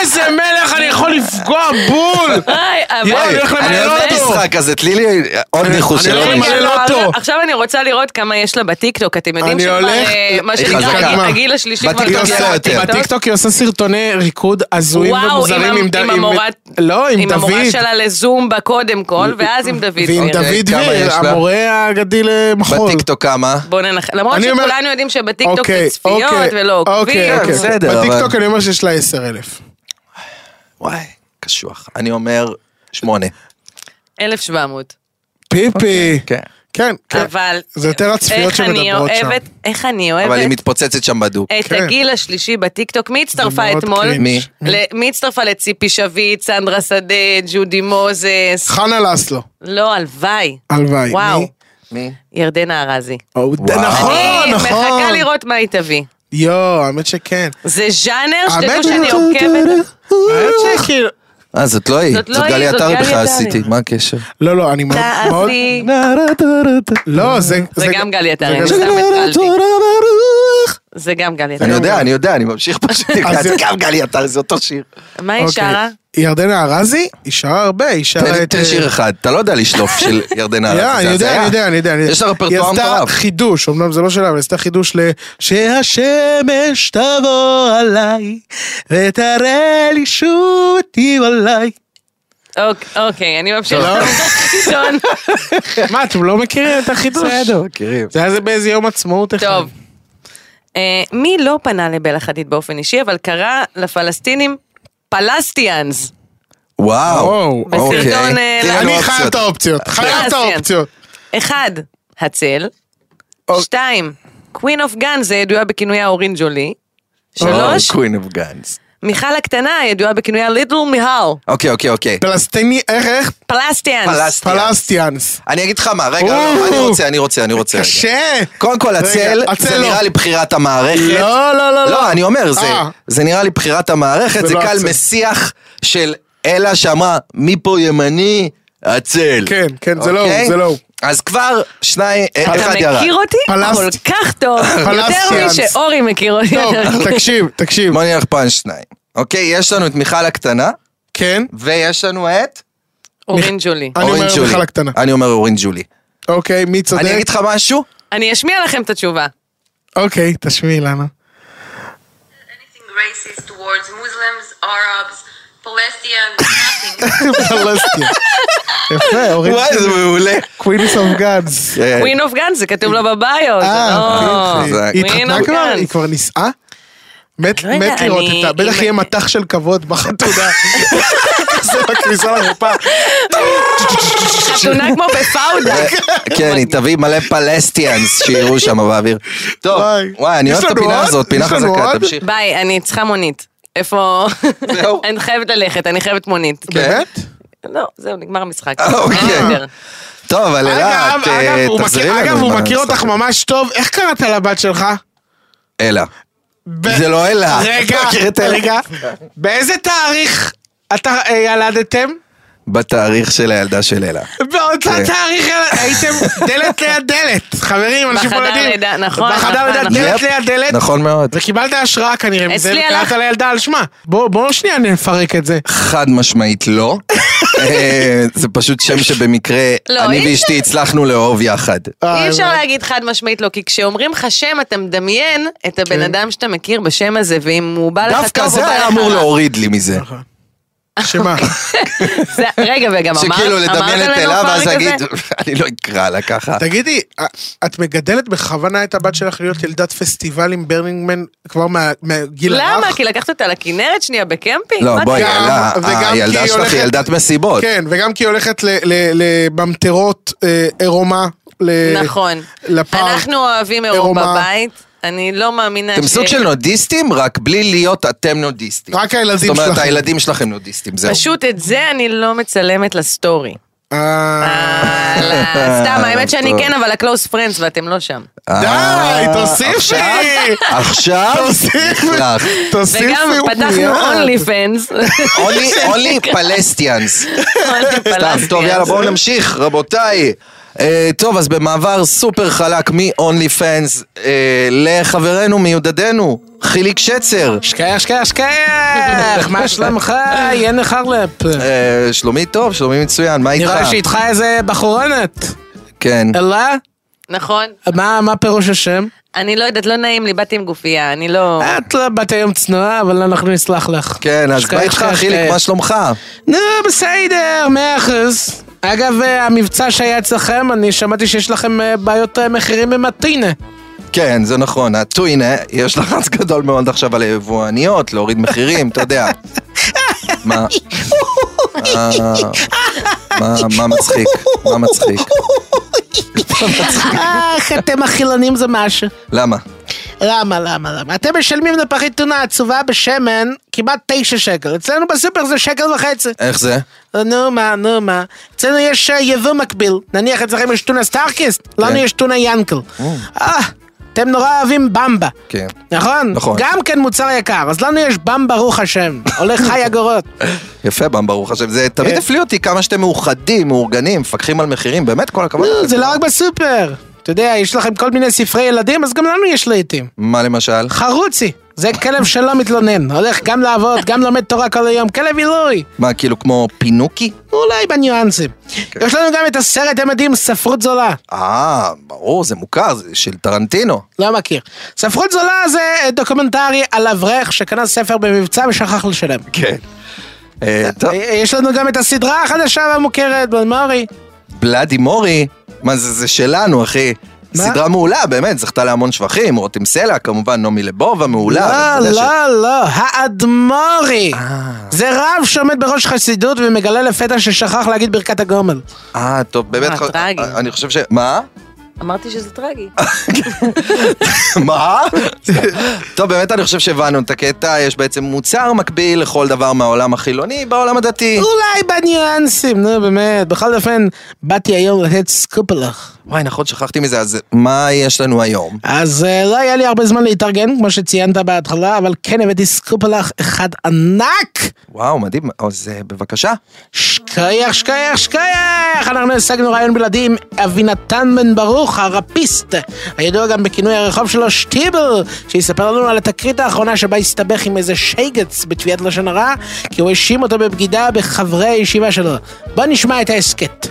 [SPEAKER 2] איזה מלך אני יכול לפגוע בול! (laughs)
[SPEAKER 4] היי, אבל...
[SPEAKER 2] אני הולך למלא
[SPEAKER 3] אני אוהב את
[SPEAKER 2] אותו.
[SPEAKER 3] המשחק הזה, תני לי עוד ניחוש
[SPEAKER 2] אני
[SPEAKER 3] של
[SPEAKER 2] הולך
[SPEAKER 3] עוד
[SPEAKER 4] רגע,
[SPEAKER 2] למלא לא
[SPEAKER 3] מישהו.
[SPEAKER 4] לא,
[SPEAKER 2] אותו.
[SPEAKER 4] אבל עכשיו אני רוצה לראות כמה יש לה בטיקטוק, אתם יודעים
[SPEAKER 2] אני
[SPEAKER 4] שכבר,
[SPEAKER 2] הולך-
[SPEAKER 4] אה, מה
[SPEAKER 3] היא
[SPEAKER 4] שנקרא,
[SPEAKER 3] חזקה.
[SPEAKER 4] הגיל- הגיל השלישי כבר
[SPEAKER 3] בטיקטוק
[SPEAKER 4] תוקע
[SPEAKER 3] עושה
[SPEAKER 4] את
[SPEAKER 3] יותר.
[SPEAKER 4] הטיקטוק.
[SPEAKER 2] בטיקטוק היא עושה סרטוני ריקוד הזויים
[SPEAKER 4] וואו, עם
[SPEAKER 2] ומוזרים
[SPEAKER 4] ה-
[SPEAKER 2] עם ד-
[SPEAKER 4] עם המורה-
[SPEAKER 2] לא, עם
[SPEAKER 4] עם המורה
[SPEAKER 2] דוד.
[SPEAKER 4] שלה לזומבה קודם כל, ואז עם דוד.
[SPEAKER 2] ועם
[SPEAKER 4] אוקיי.
[SPEAKER 2] דוד
[SPEAKER 3] כמה יש
[SPEAKER 2] דביר,
[SPEAKER 3] לה?
[SPEAKER 2] המורה האגדי למחול.
[SPEAKER 3] בטיקטוק כמה?
[SPEAKER 4] בוא ננחש, למרות
[SPEAKER 2] אני אומר-
[SPEAKER 4] שכולנו יודעים שבטיקטוק
[SPEAKER 2] אוקיי,
[SPEAKER 4] זה צפיות
[SPEAKER 2] אוקיי,
[SPEAKER 4] ולא
[SPEAKER 2] אוקיי,
[SPEAKER 4] עוקבים.
[SPEAKER 2] אוקיי.
[SPEAKER 3] בסדר, אבל-
[SPEAKER 2] בטיקטוק אני אומר שיש לה 10 אלף.
[SPEAKER 3] וואי, קשוח. אני אומר שמונה.
[SPEAKER 4] 1,700.
[SPEAKER 2] פיפי.
[SPEAKER 3] כן.
[SPEAKER 2] כן, כן.
[SPEAKER 4] אבל...
[SPEAKER 2] זה יותר הצפיות
[SPEAKER 4] איך אני
[SPEAKER 2] שמדברות שם.
[SPEAKER 4] אוהבת- איך אני
[SPEAKER 3] אבל היא
[SPEAKER 4] אוהבת
[SPEAKER 3] מתפוצצת שם בדוק.
[SPEAKER 4] את
[SPEAKER 2] כן.
[SPEAKER 4] הגיל השלישי בטיקטוק. מי הצטרפה
[SPEAKER 2] מאוד
[SPEAKER 4] אתמול?
[SPEAKER 2] קרינג'.
[SPEAKER 3] מי?
[SPEAKER 4] ל- מי הצטרפה לציפי שביט, סנדרה שדה, ג'ודי מוזס?
[SPEAKER 2] חנה לסלו,
[SPEAKER 4] לא, הלוואי.
[SPEAKER 2] הלוואי.
[SPEAKER 4] וואו.
[SPEAKER 2] מי?
[SPEAKER 3] מי?
[SPEAKER 4] ירדנה ארזי.
[SPEAKER 2] או, ד- נכון,
[SPEAKER 4] אני
[SPEAKER 2] נכון.
[SPEAKER 4] מחכה לראות מה היא תביא.
[SPEAKER 2] יואו, האמת שכן.
[SPEAKER 4] זה ז'אנר שתדעו
[SPEAKER 2] האמת
[SPEAKER 4] שאני
[SPEAKER 2] ש-
[SPEAKER 4] עוקבת.
[SPEAKER 2] האמת שכאילו...
[SPEAKER 3] אה, זאת לא היא.
[SPEAKER 4] זאת לא
[SPEAKER 3] זאת
[SPEAKER 4] היא,
[SPEAKER 3] גלי
[SPEAKER 4] זאת
[SPEAKER 3] עטרי
[SPEAKER 4] גלי
[SPEAKER 3] בכלל
[SPEAKER 4] עטרי.
[SPEAKER 3] עשיתי, מה הקשר?
[SPEAKER 2] לא, לא, אני מאוד... מאוד-
[SPEAKER 4] תעשי.
[SPEAKER 2] לא, זה...
[SPEAKER 4] זה גם גלי עטרי,
[SPEAKER 2] זה
[SPEAKER 4] אני
[SPEAKER 2] גם-
[SPEAKER 4] סתם התחלתי. זה גם גלי
[SPEAKER 3] אני
[SPEAKER 4] עטרי.
[SPEAKER 3] יודע, אני יודע, אני
[SPEAKER 2] (laughs)
[SPEAKER 3] ממשיך פשוט.
[SPEAKER 2] לא אז זה-
[SPEAKER 3] גם גלי עטרי, זה אותו שיר.
[SPEAKER 4] מה היא
[SPEAKER 2] אוקיי.
[SPEAKER 4] שרה?
[SPEAKER 2] ירדנה ארזי, היא שרה הרבה, היא
[SPEAKER 3] תן
[SPEAKER 2] שרה
[SPEAKER 3] לי-
[SPEAKER 2] את... אה,
[SPEAKER 3] תן לי שיר אחד, אתה לא יודע לשלוף של ירדנה
[SPEAKER 2] יא,
[SPEAKER 3] ארזי,
[SPEAKER 2] אה, אני
[SPEAKER 3] אה, זה
[SPEAKER 2] יודע,
[SPEAKER 3] הזיה.
[SPEAKER 2] אני יודע, אני יודע. אני יודע.
[SPEAKER 3] יש לה
[SPEAKER 2] היא
[SPEAKER 3] רפרטואר מטורף.
[SPEAKER 2] עשתה חידוש, אמנם זה לא שלה, אבל היא עשתה חידוש ל... שהשמש תבוא עליי, ותראה לי שוב אותי עליי.
[SPEAKER 4] אוק- אוקיי, אני ממשיכה.
[SPEAKER 2] לא.
[SPEAKER 4] (laughs) חידון.
[SPEAKER 2] מה, אתם לא מכירים את החידוש? בסדר.
[SPEAKER 3] מכירים.
[SPEAKER 2] זה היה זה באיזה יום עצמאות אחד.
[SPEAKER 4] טוב. אה, מי לא פנה לבלה חדיד באופן אישי, אבל קרא לפלסטינים פלסטיאנס.
[SPEAKER 3] וואו.
[SPEAKER 2] וואו.
[SPEAKER 4] בסרטון,
[SPEAKER 3] אוקיי.
[SPEAKER 4] אה,
[SPEAKER 3] תן לנו
[SPEAKER 2] אני
[SPEAKER 3] אופציות. אה, כן.
[SPEAKER 2] חייב את האופציות, חייב את
[SPEAKER 4] פלסטיאנס.
[SPEAKER 2] האופציות.
[SPEAKER 4] אחד, הצל. שתיים, קווין אוף גאנז הידועה בכינויה אורין ג'ולי. שלוש,
[SPEAKER 3] קווין אוף גאנס.
[SPEAKER 4] מיכל הקטנה הידועה בכינויה ליטל מיהל.
[SPEAKER 3] אוקיי, אוקיי, אוקיי.
[SPEAKER 2] פלסטיני, איך, איך?
[SPEAKER 4] פלסטיאנס.
[SPEAKER 3] פלסטיאנס.
[SPEAKER 2] פלסטיאנס.
[SPEAKER 3] אני אגיד לך מה, רגע, לא,
[SPEAKER 2] או.
[SPEAKER 3] לא, אני רוצה, אני רוצה, אני רוצה. רגע.
[SPEAKER 2] קשה.
[SPEAKER 3] קודם כל,
[SPEAKER 2] רגע,
[SPEAKER 3] הצל,
[SPEAKER 2] הצל
[SPEAKER 3] זה
[SPEAKER 2] לא.
[SPEAKER 3] נראה לי בחירת המערכת.
[SPEAKER 2] לא, לא, לא, לא.
[SPEAKER 3] לא, אני אומר, זה-
[SPEAKER 2] אה.
[SPEAKER 3] זה נראה לי בחירת המערכת,
[SPEAKER 2] זה
[SPEAKER 3] זה
[SPEAKER 2] לא
[SPEAKER 3] קל
[SPEAKER 2] הצל.
[SPEAKER 3] משיח של אלה שאמרה, מי פה ימני? הצל.
[SPEAKER 2] כן, כן, זה לא הוא,
[SPEAKER 3] אוקיי?
[SPEAKER 2] זה לא הוא.
[SPEAKER 3] אז כבר שניים, אה,
[SPEAKER 4] אתה
[SPEAKER 3] אחד ירד.
[SPEAKER 4] מכיר אותי
[SPEAKER 2] פלסט-
[SPEAKER 4] כל כך
[SPEAKER 3] (laughs)
[SPEAKER 4] טוב, יותר
[SPEAKER 2] פלסטיאנס.
[SPEAKER 4] משאורי מכיר אותי.
[SPEAKER 2] טוב, תקשיב, תקשיב.
[SPEAKER 3] בוא נלך פעם שניים. אוקיי, יש לנו את מיכל הקטנה,
[SPEAKER 2] כן?
[SPEAKER 3] ויש לנו את...
[SPEAKER 4] אורין ג'ולי.
[SPEAKER 2] אני
[SPEAKER 3] אורין
[SPEAKER 2] אומר
[SPEAKER 3] ג'ולי.
[SPEAKER 2] מיכל הקטנה.
[SPEAKER 3] אני אומר אורין ג'ולי.
[SPEAKER 2] אוקיי, מי צודק?
[SPEAKER 3] אני אגיד לך משהו?
[SPEAKER 4] אני אשמיע לכם את התשובה.
[SPEAKER 2] אוקיי, תשמיעי לנו.
[SPEAKER 7] Anything racist towards Muslims, Arabs, Palestinians, nothing.
[SPEAKER 2] פלסטיאנס. יפה, אורית.
[SPEAKER 3] וואי, זה מעולה.
[SPEAKER 2] קווינס אוף גאדס.
[SPEAKER 3] כן.
[SPEAKER 4] קווין אוף גאנז זה כתוב לו בביו. זה
[SPEAKER 2] אה,
[SPEAKER 4] לא-
[SPEAKER 2] אוקיי.
[SPEAKER 3] חזק.
[SPEAKER 2] היא
[SPEAKER 4] Queen
[SPEAKER 2] התחתנה
[SPEAKER 4] of
[SPEAKER 2] כבר?
[SPEAKER 4] Guns.
[SPEAKER 2] היא כבר נישאה? מת
[SPEAKER 4] לא יודע,
[SPEAKER 2] מת לראות
[SPEAKER 4] אני-
[SPEAKER 2] איתה, בטח
[SPEAKER 4] אם-
[SPEAKER 2] יהיה מטח של כבוד בחתונה. (laughs) זה בכניסה לחופה.
[SPEAKER 4] חתונה
[SPEAKER 3] (laughs)
[SPEAKER 4] כמו בפאודה.
[SPEAKER 3] כן, היא תביא מלא פלסטיאנס שיראו שם באוויר. טוב,
[SPEAKER 2] וואי.
[SPEAKER 3] וואי, אני
[SPEAKER 2] יש
[SPEAKER 3] אוהב את
[SPEAKER 2] לנו
[SPEAKER 3] הפינה
[SPEAKER 2] עוד?
[SPEAKER 3] הזאת, פינה
[SPEAKER 2] יש לנו
[SPEAKER 3] חזקה,
[SPEAKER 2] עוד?
[SPEAKER 3] תמשיך.
[SPEAKER 4] ביי, אני צריכה מונית. איפה... (laughs)
[SPEAKER 3] זהו. כן?
[SPEAKER 4] אני חייבת ללכת, אני חייבת מונית.
[SPEAKER 2] באמת?
[SPEAKER 4] לא, זהו, נגמר המשחק.
[SPEAKER 3] אה, אוקיי.
[SPEAKER 4] בסדר.
[SPEAKER 3] טוב, אבל
[SPEAKER 2] אגב,
[SPEAKER 3] אלעד,
[SPEAKER 2] אגב,
[SPEAKER 3] אה,
[SPEAKER 2] הוא
[SPEAKER 3] תחזרי
[SPEAKER 2] מכיר-
[SPEAKER 3] לנו.
[SPEAKER 2] אגב,
[SPEAKER 3] עם
[SPEAKER 2] הוא
[SPEAKER 3] ה-
[SPEAKER 2] מכיר אותך ממש טוב. איך קראת לבת שלך?
[SPEAKER 3] אלה.
[SPEAKER 2] ב-
[SPEAKER 3] זה לא אלה.
[SPEAKER 2] רגע,
[SPEAKER 3] אתה מכיר את אלה?
[SPEAKER 2] רגע. באיזה תאריך אתה אה, ילדתם?
[SPEAKER 3] בתאריך של הילדה של אלה.
[SPEAKER 2] באותו
[SPEAKER 3] כן.
[SPEAKER 2] תאריך יל- הייתם דלת ליד דלת. חברים, אנשים
[SPEAKER 4] בחדר
[SPEAKER 2] נולדים.
[SPEAKER 4] לידה, נכון,
[SPEAKER 2] בחדר
[SPEAKER 4] נכון,
[SPEAKER 2] לידה,
[SPEAKER 4] נכון.
[SPEAKER 2] דלת
[SPEAKER 3] יפ,
[SPEAKER 2] ליד דלת.
[SPEAKER 3] נכון מאוד.
[SPEAKER 2] וקיבלת השראה אה, כנראה מזה,
[SPEAKER 4] אצלי
[SPEAKER 2] וקראת
[SPEAKER 4] הלך-
[SPEAKER 2] לילדה על שמה. בואו בוא שנייה נפרק את זה.
[SPEAKER 3] חד משמעית
[SPEAKER 2] (laughs)
[SPEAKER 3] לא. אה, זה פשוט שם שבמקרה
[SPEAKER 4] לא,
[SPEAKER 3] אני
[SPEAKER 4] אי
[SPEAKER 3] ואשתי הצלחנו לאהוב יחד.
[SPEAKER 2] אה,
[SPEAKER 4] אי אפשר להגיד חד משמעית לא, כי כשאומרים לך שם, אתה מדמיין את הבן אדם שאתה מכיר בשם הזה, ואם הוא בא לך טוב, הוא בא לך...
[SPEAKER 3] כן. דווקא זה היה
[SPEAKER 4] רע.
[SPEAKER 3] אמור לא. להוריד לי מזה.
[SPEAKER 4] (laughs)
[SPEAKER 2] שמה?
[SPEAKER 4] זה- רגע, וגם אמרת
[SPEAKER 3] שכאילו
[SPEAKER 4] אמרת
[SPEAKER 3] לדמיין את
[SPEAKER 4] לנו
[SPEAKER 3] אלה ואז
[SPEAKER 4] פרק
[SPEAKER 3] להגיד,
[SPEAKER 4] כזה?
[SPEAKER 3] (laughs) אני לא אקרא לה ככה.
[SPEAKER 2] תגידי, אה, את מגדלת בכוונה את הבת שלך להיות ילדת פסטיבל עם ברנינגמן כבר מה- מהגיל הרך?
[SPEAKER 4] למה? כי לקחת אותה לכנרת שנייה בקמפינג?
[SPEAKER 3] לא,
[SPEAKER 4] מה
[SPEAKER 3] בואי,
[SPEAKER 4] זה?
[SPEAKER 2] גם-
[SPEAKER 3] אלה,
[SPEAKER 2] וגם כי
[SPEAKER 3] הילדה
[SPEAKER 2] היא
[SPEAKER 3] שלך
[SPEAKER 2] הולכת-
[SPEAKER 3] היא ילדת מסיבות.
[SPEAKER 2] כן, וגם כי היא הולכת ל- ל- לממטרות אה, עירומה. ל-
[SPEAKER 4] נכון.
[SPEAKER 2] לפארק.
[SPEAKER 4] אנחנו אוהבים אירוע
[SPEAKER 2] עירומה.
[SPEAKER 4] בבית, אני לא מאמינה
[SPEAKER 3] אתם סוג של נודיסטים, רק בלי להיות אתם נודיסטים.
[SPEAKER 2] רק הילדים
[SPEAKER 3] זאת אומרת,
[SPEAKER 2] שלכם.
[SPEAKER 3] הילדים שלכם נודיסטים, זהו.
[SPEAKER 4] פשוט את זה אני לא מצלמת לסטורי.
[SPEAKER 2] אה,
[SPEAKER 4] אה, סתם, האמת שאני
[SPEAKER 3] טוב.
[SPEAKER 4] כן, אבל הקלוס פרנדס ואתם לא שם.
[SPEAKER 2] די, תוסיפי!
[SPEAKER 3] אה, עכשיו, אה,
[SPEAKER 2] תוסיפי!
[SPEAKER 3] נכלך.
[SPEAKER 2] תוסיפי
[SPEAKER 4] וגם פתחנו
[SPEAKER 2] ומיד.
[SPEAKER 4] אונלי פנס.
[SPEAKER 3] (laughs) אונלי- אונלי פלסטיאנס. סתם, טוב, יאללה, בואו נמשיך, רבותיי. אה, טוב, אז במעבר סופר חלק מ-only fans אה, לחברנו מיודדנו, חיליק שצר.
[SPEAKER 5] שקייח, שקייח, שקייח! מה שלומך? יני חרלפ.
[SPEAKER 3] אה, שלומי טוב, שלומי מצוין, מה איתך?
[SPEAKER 5] נראה לי שאיתך איזה בחורנת.
[SPEAKER 3] כן.
[SPEAKER 5] אללה?
[SPEAKER 4] נכון.
[SPEAKER 5] מה מה פירוש השם?
[SPEAKER 4] אני לא יודעת, לא נעים לי, באתי עם גופייה, אני לא...
[SPEAKER 3] אה?
[SPEAKER 5] את לא בת היום צנועה, אבל אנחנו נסלח לך.
[SPEAKER 3] כן, אז
[SPEAKER 5] שקייח,
[SPEAKER 3] מה איתך,
[SPEAKER 5] שקייח,
[SPEAKER 3] חיליק,
[SPEAKER 5] שקייח.
[SPEAKER 3] מה שלומך?
[SPEAKER 5] נו, בסדר, מאה אחוז. אגב, אה, המבצע שהיה אצלכם, אני שמעתי שיש לכם אה, בעיות אה, מחירים במטינה.
[SPEAKER 3] כן, זה נכון, הטוינה, יש לחץ (laughs) גדול מאוד עכשיו על היבואניות, להוריד מחירים, אתה יודע. מה? אה, מה- מה מצחיק? מה מצחיק?
[SPEAKER 5] אך, אתם החילונים זה משהו.
[SPEAKER 3] למה?
[SPEAKER 5] למה, למה, למה? אתם משלמים לפחית טונה עצובה בשמן כמעט תשע שקל. אצלנו בסופר זה שקל וחצי.
[SPEAKER 3] איך זה?
[SPEAKER 5] נו מה, נו מה. אצלנו יש אה, יבוא מקביל. נניח אצלכם יש טונה סטארקיסט, לנו
[SPEAKER 3] כן. Mm.
[SPEAKER 5] יש טונה ינקל. אה, אתם נורא אוהבים במבה.
[SPEAKER 3] כן.
[SPEAKER 5] נכון?
[SPEAKER 3] נכון.
[SPEAKER 5] גם כן מוצר יקר. אז לנו יש במבה, ברוך השם. עולה
[SPEAKER 3] (laughs)
[SPEAKER 5] חי אגורות.
[SPEAKER 3] יפה, בם, ברוך השם. זה תמיד
[SPEAKER 5] כן.
[SPEAKER 3] הפליא אותי כמה שאתם מאוחדים, מאורגנים, מפקחים על מחירים, באמת כל הכבוד.
[SPEAKER 5] נו, זה לא רק בסופר. אתה יודע, יש לכם כל מיני ספרי ילדים, אז גם לנו יש לעיתים.
[SPEAKER 3] מה למשל?
[SPEAKER 5] חרוצי, זה כלב שלא מתלונן. הולך גם לעבוד, גם לומד תורה כל היום, כלב עילוי.
[SPEAKER 3] מה, כאילו כמו פינוקי?
[SPEAKER 5] אולי בניואנסים. יש לנו גם את הסרט המדהים ספרות זולה.
[SPEAKER 3] אה, ברור, זה מוכר, זה של טרנטינו.
[SPEAKER 5] לא מכיר. ספרות זולה זה אה, דוקומנטרי על אברך שקנה ספר במבצע ושכח לשלם.
[SPEAKER 3] כן. אה, טוב,
[SPEAKER 5] אה, יש לנו גם את הסדרה החדשה והמוכרת, בן מורי.
[SPEAKER 3] בלאדי מורי, מה זה, זה שלנו, אחי.
[SPEAKER 5] מה?
[SPEAKER 3] סדרה מעולה, באמת, זכתה להמון שבחים, רותם סלע, כמובן, נעמי לבובה, מעולה.
[SPEAKER 5] לא,
[SPEAKER 3] אבל אתה יודע
[SPEAKER 5] לא, לא, האדמו"רי. זה רב שעומד בראש חסידות ומגלה לפתע ששכח להגיד ברכת הגומל.
[SPEAKER 3] ש- אה, טוב, באמת,
[SPEAKER 4] אה,
[SPEAKER 3] ח-
[SPEAKER 4] טרגי.
[SPEAKER 3] אני חושב ש... מה? (laughs)
[SPEAKER 4] אמרתי שזה טרגי.
[SPEAKER 3] מה? טוב, באמת אני חושב שהבנו את הקטע, יש בעצם מוצר מקביל לכל דבר מהעולם החילוני בעולם הדתי.
[SPEAKER 5] אולי בניואנסים, נו באמת. בכל אופן, באתי היום לתת סקופ לך.
[SPEAKER 3] וואי, נכון, שכחתי מזה, אז מה יש לנו (laughs) היום?
[SPEAKER 5] אז אה, לא היה לי הרבה זמן להתארגן, כמו שציינת בהתחלה, אבל כן הבאתי סקופ לך אחד ענק!
[SPEAKER 3] וואו, מדהים, אז אה, בבקשה.
[SPEAKER 5] שכיח, שכיח, שכיח! אנחנו השגנו רעיון בלעדי עם אבינתן בן ברוך, הרפיסט, הידוע גם בכינוי הרחוב שלו שטיבל, שיספר לנו על התקרית האחרונה שבה הסתבך עם איזה שייגץ בתביעת לשון הרע, כי הוא האשים אותו בבגידה בחברי הישיבה שלו. בוא נשמע את ההסכת.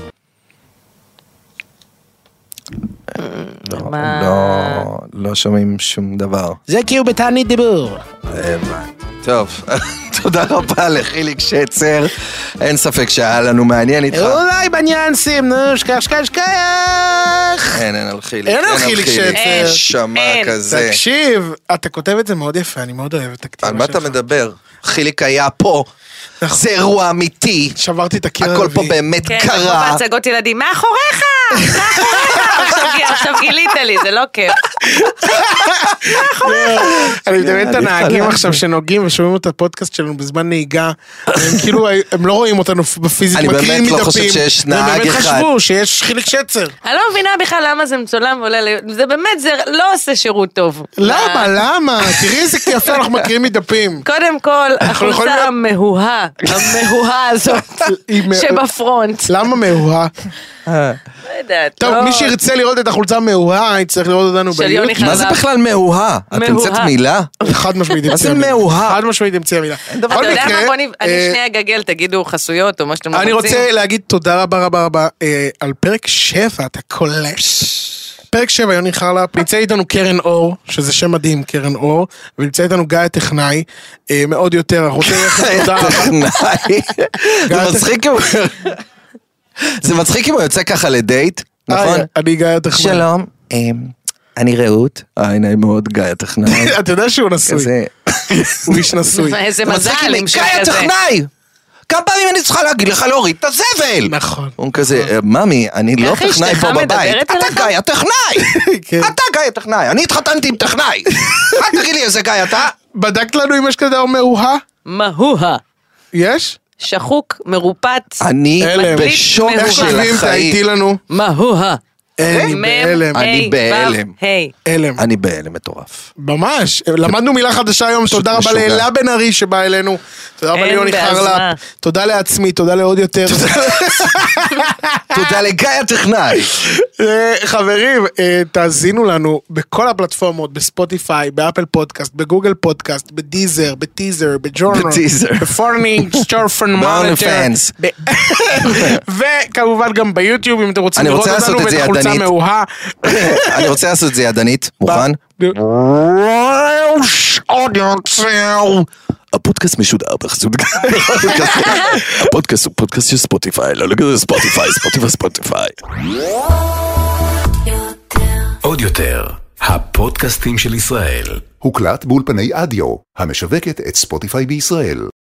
[SPEAKER 4] מה?
[SPEAKER 3] לא, לא שומעים שום דבר.
[SPEAKER 5] זה כי הוא בתענית דיבור.
[SPEAKER 3] טוב, (laughs) תודה רבה לחיליק שצר. אין ספק שהיה לנו מעניין איתך.
[SPEAKER 5] אולי בניואנסים, נו, שכח, שכח, שכח!
[SPEAKER 3] אין, אין על חיליק.
[SPEAKER 2] אין על חיליק שצר.
[SPEAKER 4] אין,
[SPEAKER 3] שמע
[SPEAKER 4] אין.
[SPEAKER 3] כזה.
[SPEAKER 2] תקשיב, אתה כותב את זה מאוד יפה, אני מאוד אוהב את
[SPEAKER 3] על
[SPEAKER 2] הכתיבה
[SPEAKER 3] מה אתה
[SPEAKER 2] שלך.
[SPEAKER 3] מדבר? חיליק היה פה.
[SPEAKER 2] נכון.
[SPEAKER 3] זה אירוע אמיתי.
[SPEAKER 2] שברתי את הקיר
[SPEAKER 3] הכל פה
[SPEAKER 2] הרביעי.
[SPEAKER 3] באמת
[SPEAKER 4] כן, זה כמו
[SPEAKER 3] קרה.
[SPEAKER 4] בהצגות ילדים, מאחוריך! מאחוריך! עכשיו גיל- עכשיו גילית לי, זה לא כיף.
[SPEAKER 2] אני מדמיין את הנהגים עכשיו שנוהגים ושומעים את הפודקאסט שלנו בזמן נהיגה, והם כאילו, הם לא רואים אותנו בפיזית,
[SPEAKER 3] אני
[SPEAKER 2] מקריאים מדפים.
[SPEAKER 3] באמת לא חושב שיש נהג
[SPEAKER 2] הם באמת
[SPEAKER 3] אחד.
[SPEAKER 2] חשבו שיש חיליק שצר.
[SPEAKER 4] אני לא מבינה בכלל למה זה מצולם ועולה ל... זה באמת, זה לא עושה שירות טוב. אה.
[SPEAKER 2] למה, למה? תראי איזה יפה אנחנו מקריאים
[SPEAKER 4] (laughs)
[SPEAKER 2] מדפים.
[SPEAKER 4] קודם כל,
[SPEAKER 2] יכולים
[SPEAKER 4] החולצה
[SPEAKER 2] להיות-
[SPEAKER 4] המהוהה, המהוהה הזאת,
[SPEAKER 2] (laughs) היא מה-
[SPEAKER 4] שבפרונט.
[SPEAKER 2] למה מאוהה?
[SPEAKER 4] לא יודעת,
[SPEAKER 2] טוב,
[SPEAKER 4] לא...
[SPEAKER 2] מי שירצה לראות את החולצה המאוהה, יצטרך לראות אותנו
[SPEAKER 4] של יוני
[SPEAKER 2] ביוטיוב.
[SPEAKER 4] חזן.
[SPEAKER 3] מה זה בכלל מאוהה? את המצאת
[SPEAKER 4] מאוהה.
[SPEAKER 3] מילה?
[SPEAKER 2] חד משמעית המציאה
[SPEAKER 3] זה
[SPEAKER 2] מילה.
[SPEAKER 3] מאוהה?
[SPEAKER 2] חד משמעית המציאה מילה.
[SPEAKER 4] אתה
[SPEAKER 2] בכל
[SPEAKER 4] יודע מה?
[SPEAKER 2] מקרה,
[SPEAKER 4] בוא נב- אני
[SPEAKER 2] אה,
[SPEAKER 4] שנייה אגגל, תגידו חסויות או מה שאתם רוצים.
[SPEAKER 2] אני רוצה להגיד תודה רבה רבה רבה אה, על פרק 7, אתה קולש. פרק 7, יוני חרלפ, נמצא איתנו קרן אור, שזה שם מדהים, קרן אור, ונמצא איתנו גיא הטכנאי, אה, מאוד יותר, אנחנו רוצים
[SPEAKER 3] (laughs)
[SPEAKER 2] ללכת תודה רבה.
[SPEAKER 3] טכנאי. זה
[SPEAKER 2] גיא,
[SPEAKER 3] מצחיק אם הוא... זה מצחיק אם הוא יוצא ככה לדייט, נכון?
[SPEAKER 2] היי, אה, אני גיא הטכנאי.
[SPEAKER 3] שלום, אמ, אני רעות.
[SPEAKER 2] אה,
[SPEAKER 3] היי, נעים מאוד, גיא הטכנאי.
[SPEAKER 2] (laughs)
[SPEAKER 3] (laughs)
[SPEAKER 2] אתה יודע שהוא נשוי,
[SPEAKER 3] כזה.
[SPEAKER 2] (laughs) הוא איש נשוי.
[SPEAKER 4] (laughs) איזה
[SPEAKER 3] זה מצחיק
[SPEAKER 4] מזל
[SPEAKER 3] אם-
[SPEAKER 4] עם שיר
[SPEAKER 3] גיא
[SPEAKER 4] כזה.
[SPEAKER 3] הטכנאי! כמה פעמים אני צריכה להגיד לך להוריד את הזבל?
[SPEAKER 2] נכון.
[SPEAKER 3] הוא כזה, "אה, ממי, אני לא
[SPEAKER 4] איך
[SPEAKER 3] טכנאי
[SPEAKER 4] אשתך
[SPEAKER 3] פה בבית.
[SPEAKER 4] מדברת
[SPEAKER 3] אתה
[SPEAKER 4] אליך?
[SPEAKER 3] גיא הטכנאי!
[SPEAKER 2] (laughs) כן.
[SPEAKER 3] אתה גיא הטכנאי, אני התחתנתי עם
[SPEAKER 2] (laughs)
[SPEAKER 3] טכנאי. אל תגיד לי איזה גיא אתה.
[SPEAKER 2] בדקת לנו אם יש כזה דבר מאוהה?
[SPEAKER 4] מהוהה.
[SPEAKER 2] יש?
[SPEAKER 4] שחוק, מרופט,
[SPEAKER 3] אני
[SPEAKER 2] הלם.
[SPEAKER 3] בשוק
[SPEAKER 4] איך
[SPEAKER 2] איך
[SPEAKER 3] של
[SPEAKER 2] שומעים את האיטי
[SPEAKER 3] החיים.
[SPEAKER 2] לנו?
[SPEAKER 4] מהוהה.
[SPEAKER 2] אני
[SPEAKER 4] מ,
[SPEAKER 2] בהלם.
[SPEAKER 4] ה,
[SPEAKER 3] אני
[SPEAKER 4] ו,
[SPEAKER 3] בהלם.
[SPEAKER 4] ה'.
[SPEAKER 2] הלם.
[SPEAKER 3] אני בהלם מטורף.
[SPEAKER 2] ממש, למדנו מילה חדשה היום, תודה רבה
[SPEAKER 3] משוגע.
[SPEAKER 2] לאלה בן ארי שבא אלינו, תודה רבה
[SPEAKER 4] אין
[SPEAKER 2] ליוני
[SPEAKER 4] בעז מה.
[SPEAKER 2] חרלפ, תודה לעצמי, תודה לעוד יותר.
[SPEAKER 3] תודה לגיא הטכנאי.
[SPEAKER 2] (laughs) אה, חברים, אה, תאזינו לנו בכל הפלטפורמות, בספוטיפיי, באפל פודקאסט, בגוגל פודקאסט, בדיזר, בטיזר, בג'ורנר,
[SPEAKER 3] בטיזר. (laughs)
[SPEAKER 2] בפורנינג, סטורפן מוניטר,
[SPEAKER 3] ב-OnlyFans.
[SPEAKER 2] (laughs) וכמובן גם ביוטיוב, אם אתם רוצים
[SPEAKER 3] אני
[SPEAKER 2] לראות
[SPEAKER 3] רוצה
[SPEAKER 2] אותנו
[SPEAKER 3] לעשות את
[SPEAKER 2] ואת
[SPEAKER 3] זה
[SPEAKER 2] החולצה
[SPEAKER 3] ידנית.
[SPEAKER 2] המאוהה.
[SPEAKER 3] אני רוצה לעשות את זה ידנית, מוכן?
[SPEAKER 2] אה,
[SPEAKER 3] הפודקאסט משודר בחסות הפודקאסט הוא פודקאסט של ספוטיפיי, לא לגבי ספוטיפיי, ספוטיפיי, ספוטיפיי.
[SPEAKER 1] עוד יותר, הפודקאסטים של ישראל.
[SPEAKER 8] הוקלט באולפני אדיו, המשווקת את ספוטיפיי בישראל.